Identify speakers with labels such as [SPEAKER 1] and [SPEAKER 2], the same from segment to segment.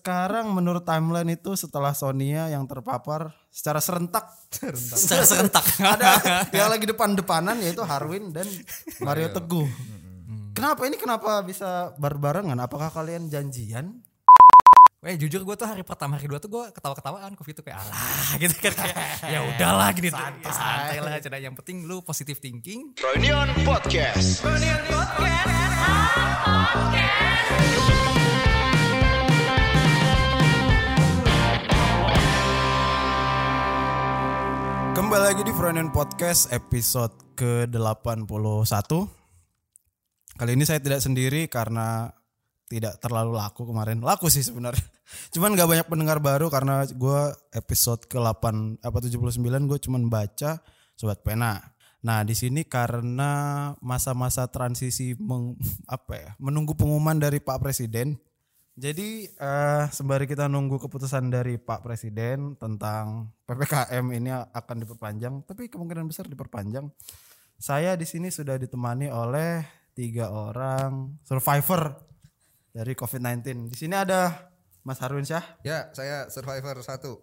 [SPEAKER 1] sekarang menurut timeline itu setelah Sonia yang terpapar secara serentak, serentak.
[SPEAKER 2] Secara serentak.
[SPEAKER 1] ada yang lagi depan-depanan yaitu Harwin dan Mario Teguh. Kenapa ini kenapa bisa berbarengan? Apakah kalian janjian?
[SPEAKER 2] Weh Eh, jujur gue tuh hari pertama hari dua tuh gue ketawa-ketawaan covid itu kayak alah gitu kan kayak ya udahlah gini santai, santai lah cina yang penting lu positive thinking
[SPEAKER 3] Reunion Podcast.
[SPEAKER 1] Kembali lagi di Frontend Podcast episode ke-81. Kali ini saya tidak sendiri karena tidak terlalu laku kemarin. Laku sih sebenarnya. Cuman gak banyak pendengar baru karena gue episode ke-8 apa 79 gue cuman baca sobat pena. Nah, di sini karena masa-masa transisi meng- apa ya, menunggu pengumuman dari Pak Presiden. Jadi eh, sembari kita nunggu keputusan dari Pak Presiden tentang PPKM ini akan diperpanjang, tapi kemungkinan besar diperpanjang. Saya di sini sudah ditemani oleh tiga orang survivor dari COVID-19. Di sini ada Mas Harwin Syah,
[SPEAKER 4] Ya, saya survivor satu.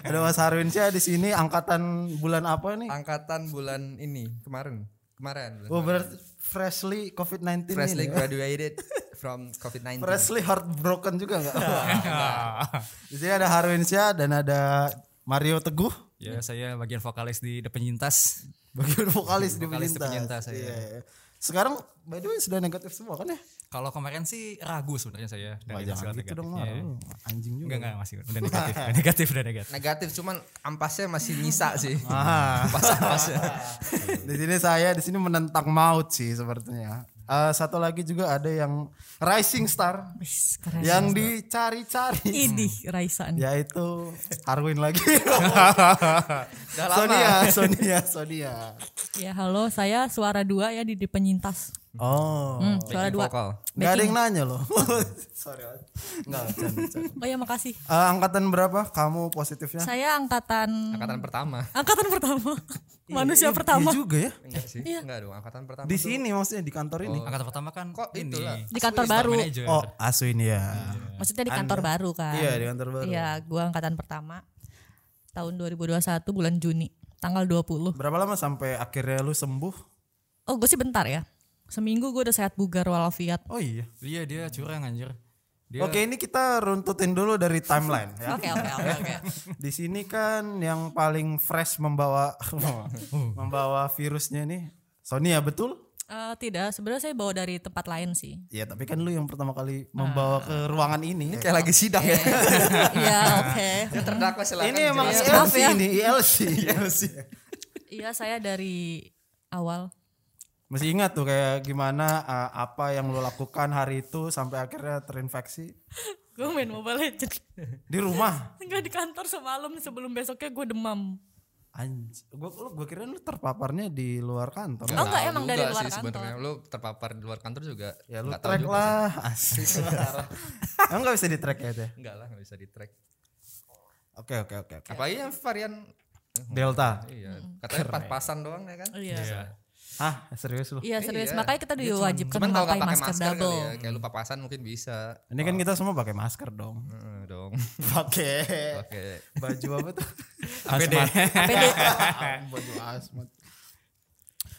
[SPEAKER 1] ada Mas Harwin Syah di sini angkatan bulan apa nih?
[SPEAKER 4] Angkatan bulan ini kemarin, kemarin.
[SPEAKER 1] Oh, berarti freshly COVID-19
[SPEAKER 4] Freshly
[SPEAKER 1] ini. ya?
[SPEAKER 4] graduated from COVID-19.
[SPEAKER 1] Freshly heartbroken juga enggak? di sini ada Harwin Syah dan ada Mario Teguh.
[SPEAKER 2] ya saya bagian vokalis di The Penyintas
[SPEAKER 1] bagian vokalis di
[SPEAKER 2] Vokalis di
[SPEAKER 1] penyintas.
[SPEAKER 2] penyintas, iya.
[SPEAKER 1] Iya, iya. Sekarang by the way sudah negatif semua kan ya?
[SPEAKER 2] kalau kemarin sih ragu sebenarnya saya
[SPEAKER 1] Wah,
[SPEAKER 2] dari
[SPEAKER 1] jangan
[SPEAKER 2] hasil
[SPEAKER 1] gitu dong Mar.
[SPEAKER 2] negatifnya.
[SPEAKER 1] Lu Anjing juga.
[SPEAKER 2] Enggak enggak masih udah negatif, udah negatif udah negatif.
[SPEAKER 4] Negatif cuman ampasnya masih nyisa sih.
[SPEAKER 1] Ah,
[SPEAKER 4] Ampas-ampasnya.
[SPEAKER 1] di sini saya di sini menentang maut sih sepertinya. Eh, satu lagi juga ada yang rising star
[SPEAKER 5] Wis, keren.
[SPEAKER 1] yang dicari-cari Ya.
[SPEAKER 5] Idih Raisan.
[SPEAKER 1] yaitu Harwin lagi.
[SPEAKER 4] Udah lama.
[SPEAKER 1] Sonia, Sonia, Sonia.
[SPEAKER 5] Ya halo, saya suara dua ya di, di penyintas.
[SPEAKER 1] Oh.
[SPEAKER 5] Hmm, suara dua.
[SPEAKER 4] Vokal.
[SPEAKER 1] Gak ada yang nanya loh. Sorry. Enggak, bercanda, bercanda.
[SPEAKER 5] Oh ya makasih.
[SPEAKER 1] Eh, angkatan berapa kamu positifnya?
[SPEAKER 5] Saya angkatan
[SPEAKER 4] Angkatan pertama.
[SPEAKER 5] angkatan pertama. Manusia
[SPEAKER 1] Iya
[SPEAKER 5] pertama
[SPEAKER 1] juga ya.
[SPEAKER 4] Enggak sih. Enggak dong, angkatan pertama.
[SPEAKER 1] Di
[SPEAKER 4] tuh-
[SPEAKER 1] sini maksudnya di kantor ini.
[SPEAKER 2] Angkatan pertama kan
[SPEAKER 4] Kok
[SPEAKER 2] ini
[SPEAKER 4] itulah.
[SPEAKER 5] di kantor
[SPEAKER 2] store
[SPEAKER 5] baru.
[SPEAKER 2] manager.
[SPEAKER 1] Oh, Aswin ya.
[SPEAKER 5] Maksudnya di kantor baru kan.
[SPEAKER 1] Iya, di kantor baru.
[SPEAKER 5] Iya, gua angkatan pertama tahun 2021 bulan Juni tanggal 20.
[SPEAKER 1] Berapa lama sampai akhirnya lu sembuh?
[SPEAKER 5] Oh, gue sih bentar ya. Seminggu gue udah sehat bugar walafiat.
[SPEAKER 1] Oh iya.
[SPEAKER 2] Iya dia curang anjir. Dia
[SPEAKER 4] Oh,
[SPEAKER 1] Oke, ini kita runtutin dulu dari timeline ya.
[SPEAKER 5] Oke, oke, oke, oke.
[SPEAKER 1] Di sini kan yang paling fresh membawa membawa virusnya nih Sonia betul?
[SPEAKER 5] Eh, tidak, sebenarnya saya bawa dari tempat lain sih.
[SPEAKER 1] Ya, tapi kan lu yang pertama kali membawa
[SPEAKER 5] Ah.
[SPEAKER 1] ke ruangan ini.
[SPEAKER 4] Kayak lagi sidang
[SPEAKER 2] Eh,
[SPEAKER 4] ya.
[SPEAKER 5] Iya, oke.
[SPEAKER 4] Terdakwa silakan.
[SPEAKER 1] Ini emang
[SPEAKER 5] jelas.
[SPEAKER 1] ILC
[SPEAKER 5] Maaf ya.
[SPEAKER 1] ini, ILC. ILC.
[SPEAKER 5] Iya, saya dari awal
[SPEAKER 1] Masih ingat tuh kayak gimana uh, apa yang lu lakukan hari itu sampai akhirnya terinfeksi
[SPEAKER 5] Gue main Mobile Legends.
[SPEAKER 1] di rumah?
[SPEAKER 5] Enggak di kantor semalam sebelum besoknya gue demam.
[SPEAKER 1] Anj, gua lu- gua kira lu terpaparnya di luar kantor.
[SPEAKER 5] Oh, enggak, emang dari
[SPEAKER 4] Juga
[SPEAKER 5] luar
[SPEAKER 4] sih
[SPEAKER 5] kantor.
[SPEAKER 4] sebenarnya. Lu terpapar di luar kantor juga.
[SPEAKER 1] Ya lu
[SPEAKER 4] Nggak tahu
[SPEAKER 1] track
[SPEAKER 4] juga sih.
[SPEAKER 1] lah. Asik. Emang enggak bisa di track ya teh?
[SPEAKER 4] Enggak lah, enggak bisa di track.
[SPEAKER 1] Oke oke oke. oke.
[SPEAKER 4] Apalagi yang varian
[SPEAKER 1] Delta.
[SPEAKER 4] Iya, katanya empat pasan doang ya kan?
[SPEAKER 5] Iya.
[SPEAKER 1] Hah serius lu?
[SPEAKER 5] Iya serius,
[SPEAKER 4] Iya.
[SPEAKER 5] makanya kita diwajibkan
[SPEAKER 1] kan
[SPEAKER 4] Cuman kalau
[SPEAKER 5] memakai
[SPEAKER 4] nggak pakai
[SPEAKER 5] masker,
[SPEAKER 4] masker kali
[SPEAKER 5] double.
[SPEAKER 4] ya, kayak lu papasan mungkin bisa.
[SPEAKER 1] Ini kan kita semua pakai masker dong.
[SPEAKER 4] Heeh, dong.
[SPEAKER 1] Pakai
[SPEAKER 4] Oke.
[SPEAKER 1] baju apa tuh?
[SPEAKER 2] APD.
[SPEAKER 5] APD.
[SPEAKER 1] Ah, baju asmat.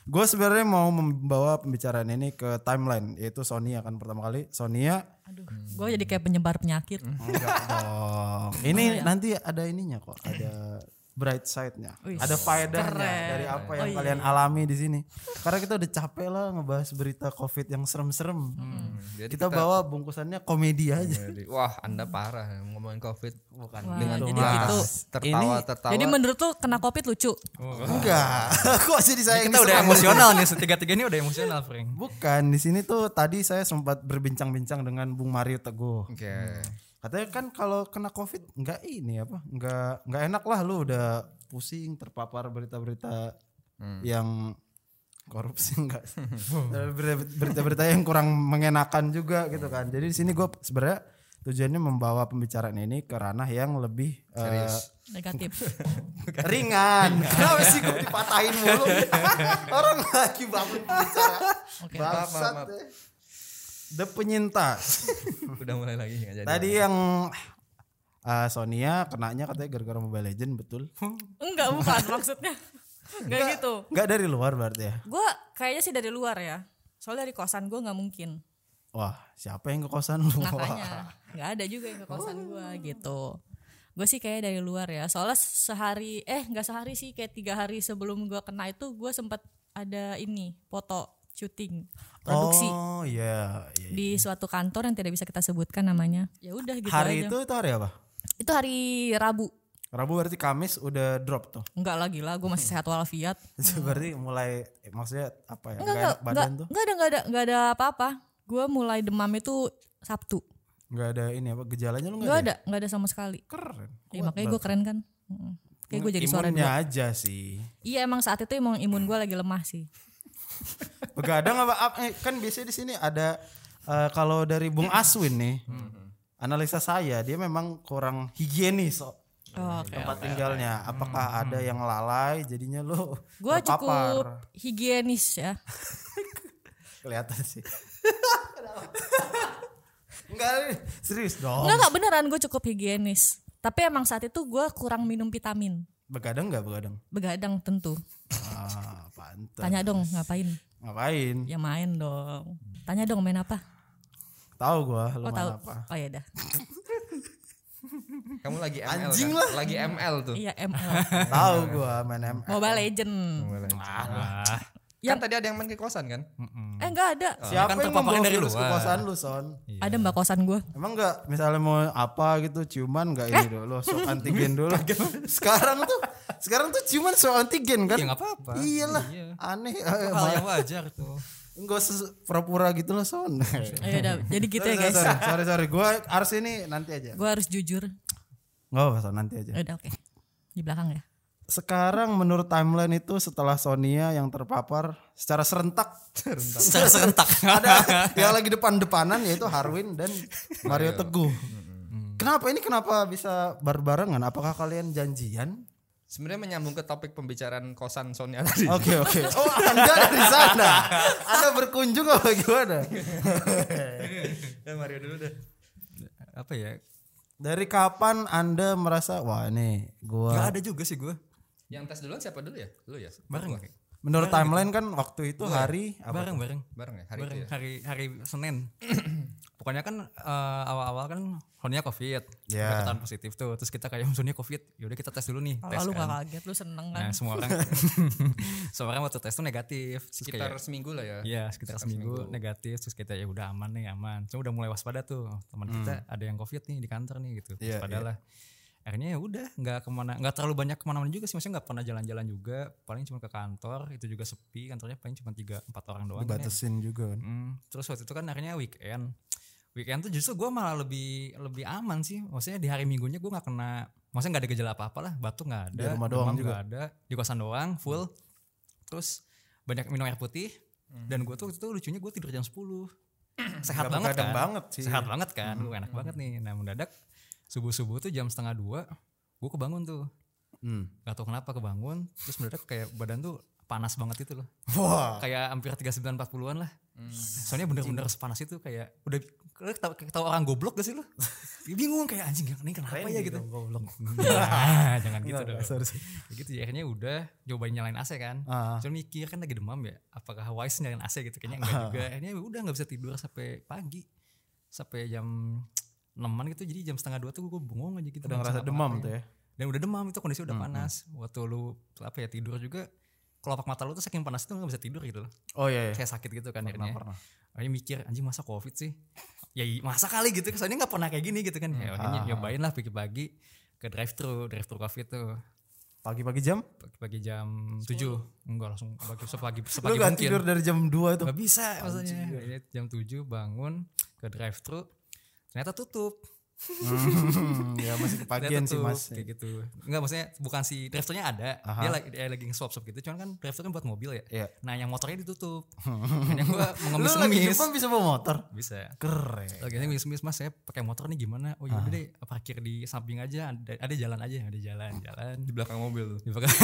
[SPEAKER 1] Gue sebenarnya mau membawa pembicaraan ini ke timeline yaitu Sonia kan pertama kali Sonia
[SPEAKER 5] Aduh, gue jadi kayak penyebar penyakit.
[SPEAKER 4] Hmm,
[SPEAKER 1] enggak dong.
[SPEAKER 5] ya?
[SPEAKER 1] Ini nanti ada ininya kok, ada bright side-nya.
[SPEAKER 5] Wih,
[SPEAKER 1] Ada faedahnya
[SPEAKER 5] keren. Oh, iya.
[SPEAKER 1] dari apa yang kalian alami di sini. Karena kita udah capek lah ngebahas berita Covid yang serem-serem.
[SPEAKER 4] Jadi
[SPEAKER 1] Kita bawa bungkusannya komedi aja.
[SPEAKER 4] Jadi, wah, Anda parah ya, ngomongin Covid.
[SPEAKER 1] Bukan
[SPEAKER 5] Wah,
[SPEAKER 1] dengan
[SPEAKER 5] jadi
[SPEAKER 1] mas.
[SPEAKER 5] gitu.
[SPEAKER 4] Tertawa, tertawa.
[SPEAKER 5] Jadi menurut lu kena covid lucu?
[SPEAKER 1] Enggak. Kok jadi saya yang
[SPEAKER 2] Kita udah
[SPEAKER 1] diserang?
[SPEAKER 2] emosional nih, setiga-tiga ini udah emosional, Frank.
[SPEAKER 1] Bukan, di sini tuh tadi saya sempat berbincang-bincang dengan Bung Mario Teguh.
[SPEAKER 4] Oke.
[SPEAKER 1] Katanya kan kalau kena covid nggak ini apa nggak nggak enak lah lu udah pusing terpapar berita-berita yang korupsi enggak berita-berita yang kurang mengenakan juga gitu kan jadi di sini gue sebenarnya tujuannya membawa pembicaraan ini ke ranah yang lebih eh,
[SPEAKER 5] Negatif.
[SPEAKER 1] ringan kenapa sih gue dipatahin mulu orang lagi bangun bicara
[SPEAKER 5] Oke.
[SPEAKER 1] bangsat deh. eh. The penyintas.
[SPEAKER 4] Udah mulai lagi nggak jadi.
[SPEAKER 1] Tadi yang eh, Sonia kenanya katanya gara-gara Mobile Legend betul.
[SPEAKER 5] Enggak bukan maksudnya. Enggak gitu.
[SPEAKER 1] Enggak dari luar berarti ya.
[SPEAKER 5] Gue kayaknya sih dari luar ya. Soalnya dari kosan gue nggak mungkin.
[SPEAKER 1] Wah, siapa yang ke kosan lu? Wah.
[SPEAKER 5] Makanya nggak ada juga yang ke kosan gue gitu. Gue sih kayak dari luar ya. Soalnya sehari eh nggak sehari sih kayak tiga hari sebelum gue kena itu gue sempat ada ini foto syuting produksi
[SPEAKER 1] Oh, iya. iya, iya.
[SPEAKER 5] di suatu kantor yang tidak bisa kita sebutkan namanya. Ya udah gitu
[SPEAKER 1] hari
[SPEAKER 5] aja.
[SPEAKER 1] itu itu hari apa?
[SPEAKER 5] Itu hari Rabu.
[SPEAKER 1] Rabu berarti Kamis udah drop tuh.
[SPEAKER 5] Enggak lah gila,
[SPEAKER 1] Hmm.
[SPEAKER 5] gue masih sehat walafiat.
[SPEAKER 1] berarti mulai eh, maksudnya apa ya?
[SPEAKER 5] Hmm. Enggak,
[SPEAKER 1] Nggak
[SPEAKER 5] enggak,
[SPEAKER 1] enak badan
[SPEAKER 5] enggak,
[SPEAKER 1] tuh.
[SPEAKER 5] enggak ada, enggak ada, enggak ada apa-apa. Gue mulai demam itu Sabtu.
[SPEAKER 1] Enggak ada ini apa gejalanya lu
[SPEAKER 5] Enggak
[SPEAKER 1] enggak
[SPEAKER 5] ada, enggak ada sama sekali.
[SPEAKER 1] Keren.
[SPEAKER 5] Ya, makanya gue keren kan. Mm. Kayak gue jadi suara
[SPEAKER 1] Imunnya
[SPEAKER 5] dua.
[SPEAKER 1] aja sih.
[SPEAKER 5] Iya emang saat itu emang imun gue lagi lemah sih.
[SPEAKER 1] Begadang apa ap- eh, kan biasanya di sini ada eh, kalau dari Bung Aswin nih. Analisa saya dia memang kurang higienis so-
[SPEAKER 5] Oke.
[SPEAKER 1] tempat
[SPEAKER 2] Iya,
[SPEAKER 1] tinggalnya. Apakah
[SPEAKER 2] Hmm,
[SPEAKER 1] ada yang lalai jadinya lu
[SPEAKER 5] Gue cukup
[SPEAKER 1] terpapar?
[SPEAKER 5] higienis ya.
[SPEAKER 1] kelihatan sih. Enggak, eh, serius dong.
[SPEAKER 5] Enggak, enggak beneran gue cukup higienis. Tapi emang saat itu gue kurang minum vitamin.
[SPEAKER 1] Begadang enggak begadang?
[SPEAKER 5] Begadang tentu.
[SPEAKER 1] Ah, pantes.
[SPEAKER 5] Tanya dong ngapain?
[SPEAKER 1] Ngapain?
[SPEAKER 5] Ya main dong. Tanya dong main apa?
[SPEAKER 1] Tahu gua lu
[SPEAKER 5] Oh
[SPEAKER 1] main
[SPEAKER 5] tahu.
[SPEAKER 1] apa.
[SPEAKER 5] Oh ya dah.
[SPEAKER 4] Kamu lagi ML
[SPEAKER 1] Anjing
[SPEAKER 4] kan?
[SPEAKER 1] lah.
[SPEAKER 4] Lagi ML tuh.
[SPEAKER 5] Iya ML.
[SPEAKER 1] Tahu gua main ML.
[SPEAKER 5] Mobile Legend.
[SPEAKER 2] Ah,
[SPEAKER 4] Kan tadi ada yang main ke kosan kan?
[SPEAKER 5] Eh enggak ada.
[SPEAKER 1] Siapa yang
[SPEAKER 2] Kan
[SPEAKER 1] membawa
[SPEAKER 2] terpaparnya dari
[SPEAKER 1] virus ke
[SPEAKER 2] luar.
[SPEAKER 1] kosan lu, Son?
[SPEAKER 5] Ada mbak kosan gue.
[SPEAKER 1] Emang enggak misalnya mau apa gitu ciuman enggak ini dulu swab antigen dulu. sekarang tuh sekarang tuh ciuman swab antigen kan?
[SPEAKER 2] Ya, nggak apa-apa.
[SPEAKER 1] Iyalah,
[SPEAKER 2] Iya.
[SPEAKER 1] aneh.
[SPEAKER 2] hal yang wajar tuh.
[SPEAKER 1] Enggak usah pura-pura gitu loh, Son.
[SPEAKER 5] Ya udah. Jadi gitu ya
[SPEAKER 1] Sorry,
[SPEAKER 5] guys.
[SPEAKER 1] Sorry, sorry, sorry. Gue harus ini nanti aja.
[SPEAKER 5] Gue harus jujur.
[SPEAKER 1] Enggak apa-apa, Son, nanti aja.
[SPEAKER 5] Ya Udah oke. Di belakang ya.
[SPEAKER 1] Sekarang menurut timeline itu setelah Sonia yang terpapar secara serentak
[SPEAKER 2] Secara serentak.
[SPEAKER 1] ada yang lagi depan-depanan yaitu Harwin dan Mario Teguh. Kenapa ini kenapa bisa berbarengan? Apakah kalian janjian?
[SPEAKER 4] Sebenarnya menyambung ke topik pembicaraan kosan Sonia tadi.
[SPEAKER 1] Oke oke. Oh Anda dari sana. Anda berkunjung apa gimana?
[SPEAKER 4] Ya, Mario dulu deh.
[SPEAKER 2] Apa ya?
[SPEAKER 1] Dari kapan Anda merasa wah ini
[SPEAKER 2] Gak
[SPEAKER 1] gua
[SPEAKER 2] ada juga sih gue.
[SPEAKER 4] Yang tes duluan siapa dulu ya? Lu ya?
[SPEAKER 2] Bareng.
[SPEAKER 4] Gua.
[SPEAKER 1] menurut timeline kan waktu
[SPEAKER 2] Iya.
[SPEAKER 1] itu hari apa?
[SPEAKER 2] Bareng bareng.
[SPEAKER 4] Bareng ya hari itu
[SPEAKER 2] Bareng
[SPEAKER 4] ya.
[SPEAKER 2] hari hari Senin. Pokoknya kan eh, awal-awal kan Honnya COVID,
[SPEAKER 4] Ya.
[SPEAKER 1] Iya.
[SPEAKER 2] Udah ketahuan positif tuh. Terus kita kayak musuhnya COVID, yaudah kita tes dulu nih.
[SPEAKER 4] Ah,
[SPEAKER 2] tes
[SPEAKER 6] Kalau lu
[SPEAKER 2] kan.
[SPEAKER 6] gak kaget, lu seneng kan?
[SPEAKER 2] Nah semua orang, semua orang waktu tes tuh negatif. Terus
[SPEAKER 4] Sekitar
[SPEAKER 2] kayak-
[SPEAKER 4] seminggu lah ya.
[SPEAKER 2] Iya sekitar seminggu negatif terus kita ya udah aman nih aman. Cuma udah mulai waspada tuh teman kita ada yang covid nih di kantor nih gitu.
[SPEAKER 1] Iya,
[SPEAKER 2] Padahal akhirnya ya udah nggak kemana nggak terlalu banyak kemana-mana juga sih. Maksudnya nggak pernah jalan-jalan juga. Paling cuma ke kantor itu juga sepi kantornya paling cuma tiga empat orang doang. kan ya.
[SPEAKER 1] Dibatasin juga kan.
[SPEAKER 2] Hmm, terus waktu itu kan akhirnya weekend. Weekend tuh justru gue malah lebih lebih aman sih. Maksudnya di hari minggunya gue nggak kena. Maksudnya nggak ada gejala apa-apa lah. Batuk nggak ada.
[SPEAKER 1] Di rumah
[SPEAKER 2] demam
[SPEAKER 1] doang juga.
[SPEAKER 2] nggak ada. Di kosan doang full. Terus banyak minum air putih. Dan gue tuh waktu itu lucunya gue tidur jam 10. Sehat
[SPEAKER 1] Hmm. Nggak
[SPEAKER 2] banget kan.
[SPEAKER 1] begadang banget sih. Hmm.
[SPEAKER 2] Sehat banget kan. Gua enak banget nih. Nah mendadak subuh-subuh tuh jam setengah dua. Gue kebangun tuh.
[SPEAKER 1] Hmm.
[SPEAKER 2] Gak tau kenapa kebangun. Terus mendadak kayak badan tuh panas banget itu loh
[SPEAKER 1] Wah.
[SPEAKER 2] kayak hampir 39 40-an lah.
[SPEAKER 1] Hmm.
[SPEAKER 2] Soalnya bener-bener sepanas itu kayak udah lu tau, tau orang goblok gak sih lu? Ya bingung kayak anjing ini kenapa ya gitu. Goblok. jangan gitu dong.
[SPEAKER 1] Nggak, sorry, sorry.
[SPEAKER 2] Ya gitu ya akhirnya udah nyobain nyalain AC kan.
[SPEAKER 1] Ah.
[SPEAKER 2] Cuma mikir kan lagi demam ya, apakah wise nyalain AC gitu kayaknya enggak juga. Akhirnya udah nggak bisa tidur sampai pagi. Sampai jam 6-an gitu jadi jam setengah dua tuh gue bengong aja gitu.
[SPEAKER 1] Udah ngerasa demam tuh ya. Hmm,
[SPEAKER 2] Dan udah demam itu kondisi udah panas. Waktu lu apa ya tidur juga kelopak mata lu tuh saking panas itu nggak bisa tidur gitu loh
[SPEAKER 1] Oh iya. iya.
[SPEAKER 2] kayak sakit gitu kan akhirnya.
[SPEAKER 1] pernah.
[SPEAKER 2] Akhirnya mikir anjing masa covid sih. ya i- masa kali gitu soalnya nggak pernah kayak gini gitu kan. Ya
[SPEAKER 1] Ah.
[SPEAKER 2] akhirnya nyobain lah pagi-pagi ke drive thru drive thru covid tuh
[SPEAKER 1] Pagi-pagi jam?
[SPEAKER 2] pagi-pagi jam 7 enggak langsung pagi sepagi
[SPEAKER 1] Lu
[SPEAKER 2] sepagi
[SPEAKER 1] gak
[SPEAKER 2] mungkin.
[SPEAKER 1] tidur dari jam 2 itu?
[SPEAKER 2] Nggak bisa maksudnya.
[SPEAKER 1] iya.
[SPEAKER 2] Akhirnya jam 7 bangun ke drive thru ternyata tutup.
[SPEAKER 1] Hmm, ya masih kepagian
[SPEAKER 2] Ternyata
[SPEAKER 1] sih
[SPEAKER 2] tutup,
[SPEAKER 1] mas.
[SPEAKER 2] kayak gitu. Enggak maksudnya bukan si drive thru-nya ada. Dia lagi dia lagi nge-swap-swap gitu. Cuman kan drive thru kan buat mobil ya.
[SPEAKER 1] Iya.
[SPEAKER 2] Nah, yang motornya ditutup. Akhirnya gua
[SPEAKER 1] Lu lagi
[SPEAKER 2] mengemis-ngemis.
[SPEAKER 1] Jepang bisa bawa motor?
[SPEAKER 2] Bisa. ya?
[SPEAKER 1] Keren.
[SPEAKER 2] Oke, saya ngemis mas saya pakai motor nih gimana? Oh yaudah deh parkir di samping aja, ada, ada jalan aja, ada jalan, jalan.
[SPEAKER 4] Di belakang mobil tuh.
[SPEAKER 2] Ah, Di belakang.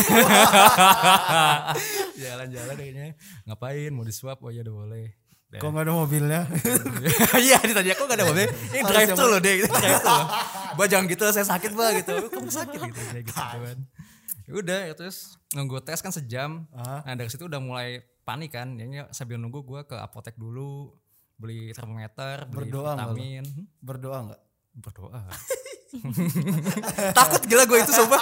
[SPEAKER 2] Jalan-jalan kayaknya. Ngapain? Mau disuap? Oh ya udah boleh.
[SPEAKER 1] Kok gak ada mobilnya?
[SPEAKER 2] Iya ditanya kok gak ada mobil. Ini drive thru loh deh. Gitu, drive thru. Bah jangan gitu saya sakit bah gitu. Kamu sakit gitu. Kayak gitu kan. Ya Udah ya terus nunggu tes kan sejam.
[SPEAKER 1] Ah,
[SPEAKER 2] Nah dari situ udah mulai panik kan. Jadi sambil nunggu gue ke apotek dulu beli termometer, beli
[SPEAKER 1] Berdoa nggak lo?
[SPEAKER 2] vitamin. Hmm?
[SPEAKER 1] Berdoa nggak?
[SPEAKER 2] berdoa takut gila gue itu coba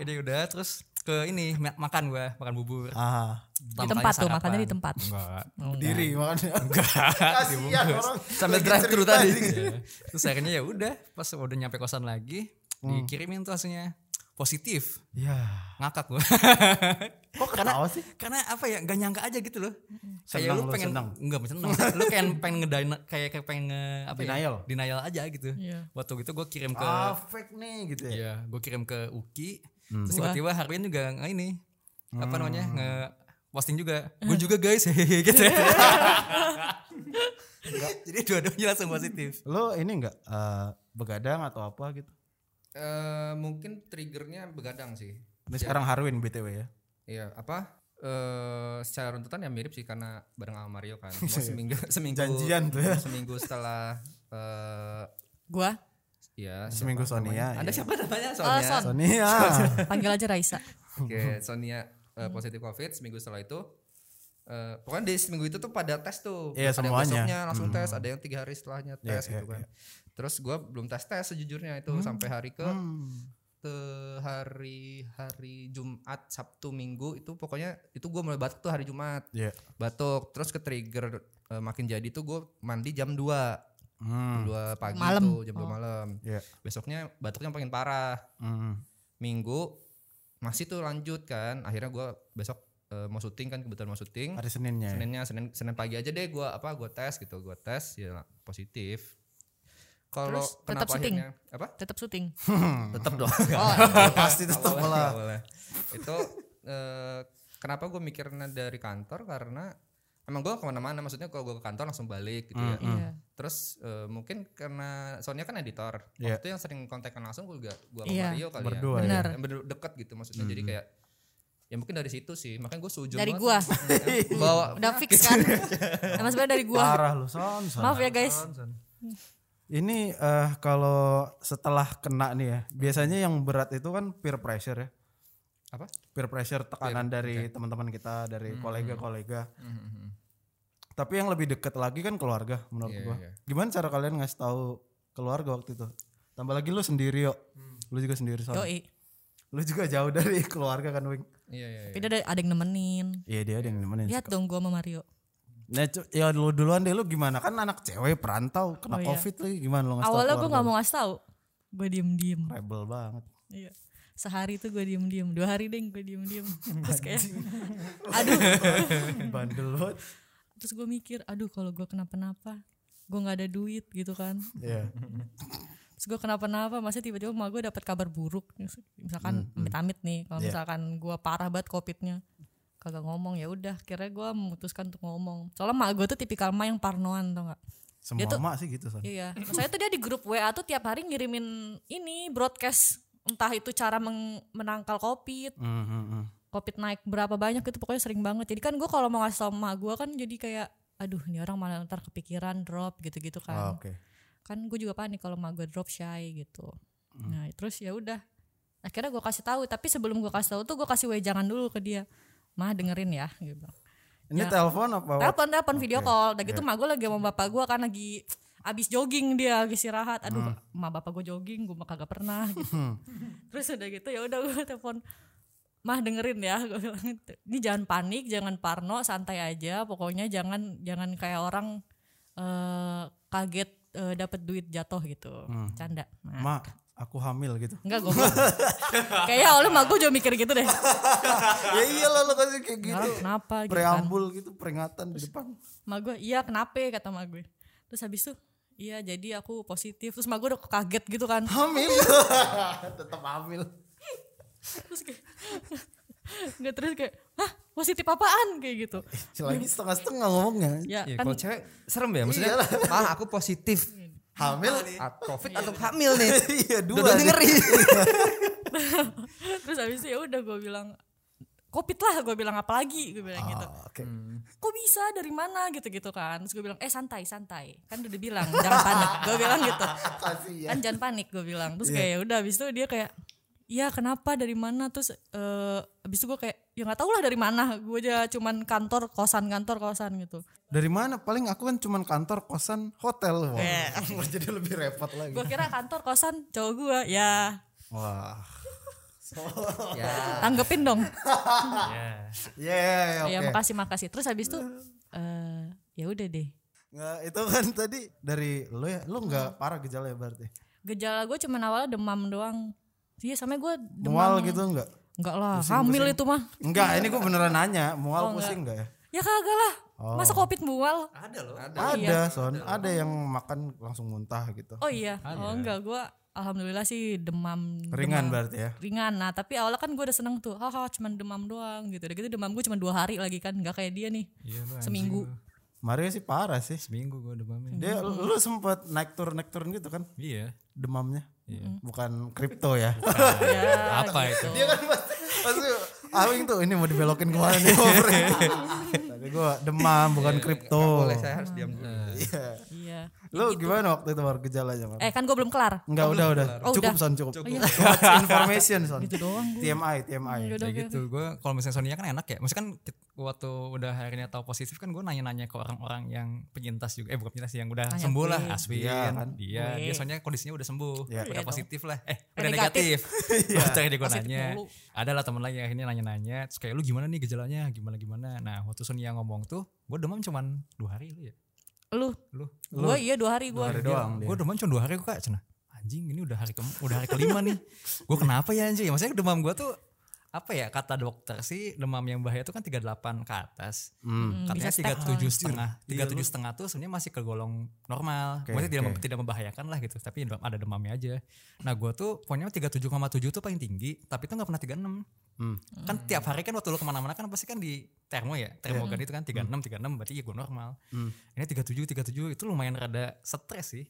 [SPEAKER 2] ini udah terus ke ini ma- makan gue makan bubur
[SPEAKER 1] Ah,
[SPEAKER 5] Di tempat tuh, makannya di tempat. Oh.
[SPEAKER 2] enggak
[SPEAKER 1] diri makanya.
[SPEAKER 2] Kasihan
[SPEAKER 1] orang
[SPEAKER 2] sambil
[SPEAKER 1] lagi
[SPEAKER 2] drive thru
[SPEAKER 1] cerita
[SPEAKER 2] tadi Iya. terus akhirnya ya udah pas udah nyampe kosan lagi
[SPEAKER 5] Hmm.
[SPEAKER 2] dikirimin tuh hasilnya positif
[SPEAKER 1] Ya.
[SPEAKER 2] ngakak gue
[SPEAKER 1] Kok ketawa sih?
[SPEAKER 2] karena apa ya gak nyangka aja gitu loh
[SPEAKER 1] Senang
[SPEAKER 2] kayak lu
[SPEAKER 1] lo,
[SPEAKER 2] pengen
[SPEAKER 1] senang.
[SPEAKER 2] enggak senang lu kayak pengen ngedina kayak kayak pengen nge, apa
[SPEAKER 1] Denial.
[SPEAKER 2] ya, denial aja gitu
[SPEAKER 5] Iya.
[SPEAKER 2] waktu itu gue kirim ke
[SPEAKER 1] Ah, fake nih gitu ya.
[SPEAKER 2] Iya, gue kirim ke Uki. Terus tiba-tiba Harvin juga nge ini apa namanya nge posting juga. Gue juga guys, hehehe gitu. Jadi dua-duanya langsung positif.
[SPEAKER 1] Lo ini enggak eh, begadang atau apa gitu?
[SPEAKER 4] Eh, mungkin triggernya begadang sih.
[SPEAKER 1] Ini sekarang Harwin BTW ya.
[SPEAKER 4] Iya, apa? Eh secara runtutan ya mirip sih karena bareng sama Mario kan. Mau seminggu seminggu
[SPEAKER 1] Janjian tuh ya.
[SPEAKER 4] Seminggu setelah eh
[SPEAKER 5] Gua
[SPEAKER 4] ya
[SPEAKER 1] Seminggu
[SPEAKER 4] siapa
[SPEAKER 1] Sonia,
[SPEAKER 4] namanya? Anda
[SPEAKER 1] iya.
[SPEAKER 4] siapa namanya? Sonia.
[SPEAKER 5] Eh, Son.
[SPEAKER 1] Sonia.
[SPEAKER 5] panggil aja Raisa.
[SPEAKER 4] Oke, Sonia eh, positif COVID seminggu setelah itu. eh pokoknya di seminggu itu tuh pada tes tuh.
[SPEAKER 1] Iya,
[SPEAKER 4] ada yang
[SPEAKER 1] semuanya. Hmm.
[SPEAKER 4] besoknya langsung tes, ada yang tiga hari
[SPEAKER 1] Iya,
[SPEAKER 4] setelahnya
[SPEAKER 1] iya,
[SPEAKER 4] tes
[SPEAKER 1] Hmm.
[SPEAKER 4] gitu kan. Terus gua belum tes tes sejujurnya itu sampai hari ke ke hari hari Jumat Sabtu Minggu itu pokoknya itu gua mulai batuk tuh hari Jumat
[SPEAKER 1] Iya.
[SPEAKER 4] batuk terus ke trigger eh, makin jadi tuh gue mandi jam 2
[SPEAKER 1] Hmm.
[SPEAKER 4] dua pagi
[SPEAKER 5] Malam. Oh.
[SPEAKER 4] tuh jam 2 malam
[SPEAKER 1] Iya.
[SPEAKER 4] besoknya batuknya makin parah
[SPEAKER 1] Hmm.
[SPEAKER 4] minggu masih tuh lanjut kan akhirnya gue besok eh, mau syuting kan kebetulan mau syuting
[SPEAKER 1] Hari Seninnya. ya?
[SPEAKER 4] seninnya senin senin pagi aja deh gue apa gue tes gitu gue tes ya positif kalau
[SPEAKER 5] Terus tetap
[SPEAKER 4] kenapa
[SPEAKER 5] syuting?
[SPEAKER 4] akhirnya apa Oh, iya.
[SPEAKER 5] Tetap syuting.
[SPEAKER 4] tetap dong
[SPEAKER 1] Pasti tetap
[SPEAKER 4] Awalnya,
[SPEAKER 1] malah.
[SPEAKER 4] awalnya. itu eh, kenapa gue mikirnya dari kantor karena emang gue kemana-mana maksudnya kalau gue ke kantor langsung balik gitu ya
[SPEAKER 5] Iya.
[SPEAKER 4] terus eh, mungkin karena Sonia kan editor waktu
[SPEAKER 1] Iya.
[SPEAKER 4] itu yang sering kontekan langsung gue juga gue
[SPEAKER 5] Iya.
[SPEAKER 4] Mario kali
[SPEAKER 1] Berdua
[SPEAKER 4] ya
[SPEAKER 1] ya.
[SPEAKER 5] Benar.
[SPEAKER 4] yang berdua dekat gitu maksudnya jadi kayak ya mungkin dari situ sih makanya gue sujud
[SPEAKER 5] Dari
[SPEAKER 4] banget. bawa
[SPEAKER 5] Udah fix kan? Emang sebenarnya dari gua.
[SPEAKER 1] Iya. Parah lu, Son. Son.
[SPEAKER 5] Maaf ya guys.
[SPEAKER 1] Ini eh kalau setelah kena nih ya, biasanya yang berat itu kan peer pressure ya.
[SPEAKER 4] apa
[SPEAKER 1] Peer pressure tekanan dari teman-teman kita, dari kolega-kolega.
[SPEAKER 4] hmm. Mm-hmm.
[SPEAKER 1] Tapi yang lebih deket lagi kan keluarga menurut
[SPEAKER 4] Iya,
[SPEAKER 1] gua.
[SPEAKER 4] iya.
[SPEAKER 1] Gimana cara kalian ngasih tahu keluarga waktu itu? Tambah lagi lu sendiri yuk. Lu juga sendiri Son.
[SPEAKER 5] Yoi.
[SPEAKER 1] Lu juga jauh dari keluarga kan Wing.
[SPEAKER 4] iya iya iya.
[SPEAKER 5] Tapi ada ada yang nemenin.
[SPEAKER 1] Iya dia ada yang nemenin.
[SPEAKER 5] Lihat dong gua sama Mario.
[SPEAKER 1] Nah, cu- ya lu duluan deh lu gimana kan anak cewek perantau kena covid lagi gimana lu ngasih tahu
[SPEAKER 5] Oh, iya. Awalnya gua
[SPEAKER 1] keluarga
[SPEAKER 5] nggak mau ngasih tahu. Gua diem-diem.
[SPEAKER 1] lu? rebel banget.
[SPEAKER 5] Iya. Sehari tuh gue diem-diem, dua hari deh gue diem-diem. Terus kayak, aduh.
[SPEAKER 1] Bandel banget.
[SPEAKER 5] Terus gue mikir, aduh kalau gue kenapa-napa, gue nggak ada duit gitu kan.
[SPEAKER 1] Iya.
[SPEAKER 5] Terus gue kenapa-napa, masa tiba-tiba emak gue dapat kabar buruk. Misalkan amit-amit nih, kalau
[SPEAKER 1] Iya.
[SPEAKER 5] misalkan gue parah banget covidnya kagak ngomong ya udah kira gue memutuskan untuk ngomong soalnya mak gue tuh tipikal mak yang parnoan tau gak
[SPEAKER 1] Semua
[SPEAKER 5] tuh-
[SPEAKER 1] emak sih gitu Son.
[SPEAKER 5] Iya, saya tuh dia di grup WA tuh tiap hari ngirimin ini broadcast entah itu cara meng- menangkal covid,
[SPEAKER 1] Hmm, hmm, hmm.
[SPEAKER 5] covid naik berapa banyak itu pokoknya sering banget. Jadi kan gue kalau mau ngasih tau emak gue kan jadi kayak aduh ini orang malah ntar kepikiran drop gitu-gitu
[SPEAKER 1] Ah,
[SPEAKER 5] kan.
[SPEAKER 1] Oke.
[SPEAKER 5] Kan gue juga panik kalau emak gue drop shy gitu. Nah terus ya udah akhirnya gue kasih tahu tapi sebelum gue kasih tahu tuh gue kasih wejangan dulu ke dia mah dengerin ya gitu
[SPEAKER 1] Ini
[SPEAKER 5] Ya.
[SPEAKER 1] telepon apa? what-
[SPEAKER 5] telepon telepon video
[SPEAKER 1] Oke.
[SPEAKER 5] call dan gitu mak gue lagi sama bapak gue kan lagi abis jogging dia lagi istirahat
[SPEAKER 1] Hmm.
[SPEAKER 5] aduh ma bapak gue jogging gue mah kagak pernah gitu. terus udah gitu ya udah gue telepon mah dengerin ya gue bilang gitu. ini jangan panik jangan parno santai aja pokoknya jangan jangan kayak orang eh, kaget eh, dapat duit jatuh gitu
[SPEAKER 1] Hmm.
[SPEAKER 5] canda Nah.
[SPEAKER 1] Mak, aku hamil gitu.
[SPEAKER 5] Enggak gue Kayaknya oleh mak gue juga mikir gitu deh
[SPEAKER 1] ya iyalah lu kasih kayak gitu.
[SPEAKER 5] Orang kenapa gitu kan
[SPEAKER 1] Preambul gitu, peringatan di depan.
[SPEAKER 5] Ma gue, iya kenapa kata ma gue. Terus habis tuh, iya jadi aku positif. Terus ma gue udah kaget gitu kan.
[SPEAKER 1] Hamil. Tetap hamil.
[SPEAKER 5] Terus kayak, nggak terus kayak, hah positif apaan kayak gitu.
[SPEAKER 1] Lagi setengah-setengah ngomongnya.
[SPEAKER 5] Ya
[SPEAKER 4] Eh, Iya,
[SPEAKER 5] kan,
[SPEAKER 4] kalau cewek serem ya maksudnya mah aku positif
[SPEAKER 1] Hamil.
[SPEAKER 4] Ah, covid atau hamil nih
[SPEAKER 1] Iya, dua.
[SPEAKER 4] dua
[SPEAKER 1] nih.
[SPEAKER 4] ngeri
[SPEAKER 5] terus habis itu ya udah gue bilang, covid lah gue bilang apalagi gue bilang gitu
[SPEAKER 1] Ah, Oke.
[SPEAKER 5] kok bisa dari mana gitu gitu kan terus gue bilang eh santai santai kan udah dibilang jangan panik gue bilang gitu kan jangan panik gue bilang terus kayak udah abis itu dia kayak Iya kenapa dari mana terus eh abis itu gue kayak ya nggak tau lah dari mana gue aja cuman kantor kosan kantor kosan gitu
[SPEAKER 1] Dari mana? Paling aku kan cuman kantor kosan hotel. Wah.
[SPEAKER 5] Eh.
[SPEAKER 1] Jadi lebih repot lagi.
[SPEAKER 5] gue kira kantor kosan cowok gue ya
[SPEAKER 1] Wah.
[SPEAKER 5] tanggepin dong
[SPEAKER 1] Ya, ya, ya,
[SPEAKER 5] ya
[SPEAKER 1] oke.
[SPEAKER 5] makasih makasih terus habis itu eh ya udah deh
[SPEAKER 1] Nggak, itu kan tadi dari lo ya, lo nggak parah gejala ya berarti.
[SPEAKER 5] gejala gue cuman awalnya demam doang iya sampai gue demam
[SPEAKER 1] Mual gitu enggak?
[SPEAKER 5] enggak lah hamil itu mah
[SPEAKER 1] Enggak, ini gue beneran nanya. Mual pusing enggak ya? Oh.
[SPEAKER 5] ya kagak lah masa
[SPEAKER 2] Oh.
[SPEAKER 5] covid mual
[SPEAKER 1] Ada, son. Ada yang makan langsung muntah gitu.
[SPEAKER 5] oh iya oh enggak gue alhamdulillah sih demam
[SPEAKER 1] Ringan
[SPEAKER 5] demam.
[SPEAKER 1] berarti ya.
[SPEAKER 5] ringan nah tapi awalnya kan gue udah seneng tuh haha cuman demam doang gitu udah gitu demam gue cuma dua hari lagi kan nggak kayak dia nih
[SPEAKER 2] Iya,
[SPEAKER 5] seminggu
[SPEAKER 1] Mario sih parah sih.
[SPEAKER 2] Seminggu gue demamnya.
[SPEAKER 1] Dia
[SPEAKER 5] Hmm.
[SPEAKER 1] lu sempet naik turun naik turun gitu kan
[SPEAKER 2] Iya.
[SPEAKER 1] demamnya.
[SPEAKER 5] Iya.
[SPEAKER 1] Bukan kripto ya.
[SPEAKER 5] Ah,
[SPEAKER 2] Apa itu?
[SPEAKER 1] Pasti awing tuh ini mau dibelokin kemana nih ngobrol. Tadi gue demam bukan kripto.
[SPEAKER 4] iya, Boleh saya harus diam dulu.
[SPEAKER 5] iya
[SPEAKER 1] Lu gimana waktu itu war gejalanya? Mar?
[SPEAKER 5] eh kan gue belum kelar
[SPEAKER 1] Enggak, udah, udah.
[SPEAKER 5] Oh, Gitu
[SPEAKER 1] cukup,
[SPEAKER 5] udah.
[SPEAKER 1] Son, cukup. Too much information, Son. Itu doang. TMI, TMI.
[SPEAKER 2] Kayak gitu. Gue kalau misalnya Sonia kan enak ya. Maksudnya kan kit- waktu udah akhirnya tahu positif kan gue nanya-nanya ke orang-orang yang penyintas juga. Eh bukan penyintas yang udah sembuh lah. Aswin.
[SPEAKER 1] Iya, kan? Iya.
[SPEAKER 2] Dia, dia soalnya kondisinya udah sembuh. Udah positif lah. Eh udah
[SPEAKER 5] negatif.
[SPEAKER 2] negatif. Terakhir gue nanya. Ada lah temen lagi yang akhirnya nanya-nanya. Terus kayak lu gimana nih gejalanya? Gimana-gimana? Nah waktu Sonia ngomong tuh. Gue demam cuman dua hari lu ya.
[SPEAKER 5] lu
[SPEAKER 2] Lu.
[SPEAKER 5] gue iya dua hari gue
[SPEAKER 1] Hari doang dia.
[SPEAKER 2] Gue demam cuma dua hari kok kak Cina. Anjing ini udah hari ke udah hari kelima nih. Gue kenapa ya anjing? Maksudnya demam gue tuh apa ya kata dokter sih demam yang bahaya itu kan 38 ke atas.
[SPEAKER 1] Hmm.
[SPEAKER 2] Katanya
[SPEAKER 5] Hmm, bisa Ah,
[SPEAKER 2] tiga
[SPEAKER 5] step
[SPEAKER 2] tujuh setengah. Tiga tujuh setengah tuh sebenarnya masih kegolong
[SPEAKER 1] Iya,
[SPEAKER 2] normal.
[SPEAKER 1] Oke,
[SPEAKER 2] Maksudnya tidak
[SPEAKER 1] oke.
[SPEAKER 2] mem- tidak membahayakan lah gitu. Tapi demam- ada demamnya aja. Nah gue tuh pokoknya 37,7 tuh paling tinggi. Tapi itu nggak pernah 36
[SPEAKER 1] Hmm.
[SPEAKER 2] kan tiap hari kan waktu lu kemana-mana kan pasti kan di termo ya termogan
[SPEAKER 1] Iya.
[SPEAKER 2] itu kan 36 36 berarti ya gue normal ini 37 37 itu lumayan rada stres sih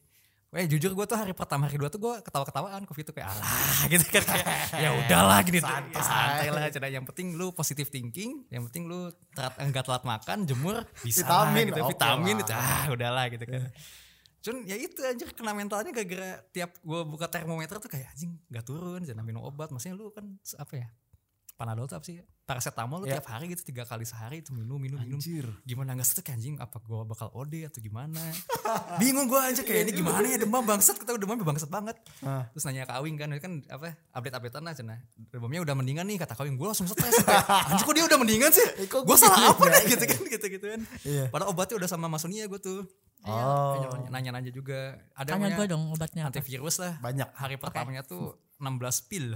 [SPEAKER 2] Weh jujur gue tuh hari pertama hari dua tuh gue ketawa-ketawaan covid tuh kayak alah gitu kan kayak ya udahlah gini santai, santai lah Cina. yang penting lu positive thinking yang penting lu telat enggak telat makan jemur bisa lah
[SPEAKER 1] Vitamin,
[SPEAKER 2] gitu
[SPEAKER 1] oke
[SPEAKER 2] vitamin
[SPEAKER 1] lah.
[SPEAKER 2] itu ah udahlah gitu kan Cuman ya itu anjir kena mentalnya gara-gara tiap gue buka termometer tuh kayak anjing gak turun jangan minum obat maksudnya lu kan apa ya Panadol tuh apa sih paracetamol lu tiap hari gitu tiga kali sehari itu minum minum minum gimana nggak setek anjing apa gue bakal OD atau gimana bingung gue anjir kayak ini gimana ya demam bangsat ketahui demam ya bangsat banget
[SPEAKER 1] Ah.
[SPEAKER 2] terus nanya ke Awing kan kan apa update updatean lah cina demamnya udah mendingan nih kata Awing gue langsung stres kayak, anjir kok dia udah mendingan sih
[SPEAKER 1] Eh,
[SPEAKER 2] gue salah apa nih gitu kan gitu gitu kan
[SPEAKER 1] Iya.
[SPEAKER 2] padahal obatnya udah sama Masonia gue tuh
[SPEAKER 1] Oh,
[SPEAKER 2] Kayak nanya-nanya juga. Ada namanya
[SPEAKER 5] tanya gue dong obatnya apa.
[SPEAKER 2] antivirus lah.
[SPEAKER 1] banyak.
[SPEAKER 2] Hari pertamanya tuh 16 pil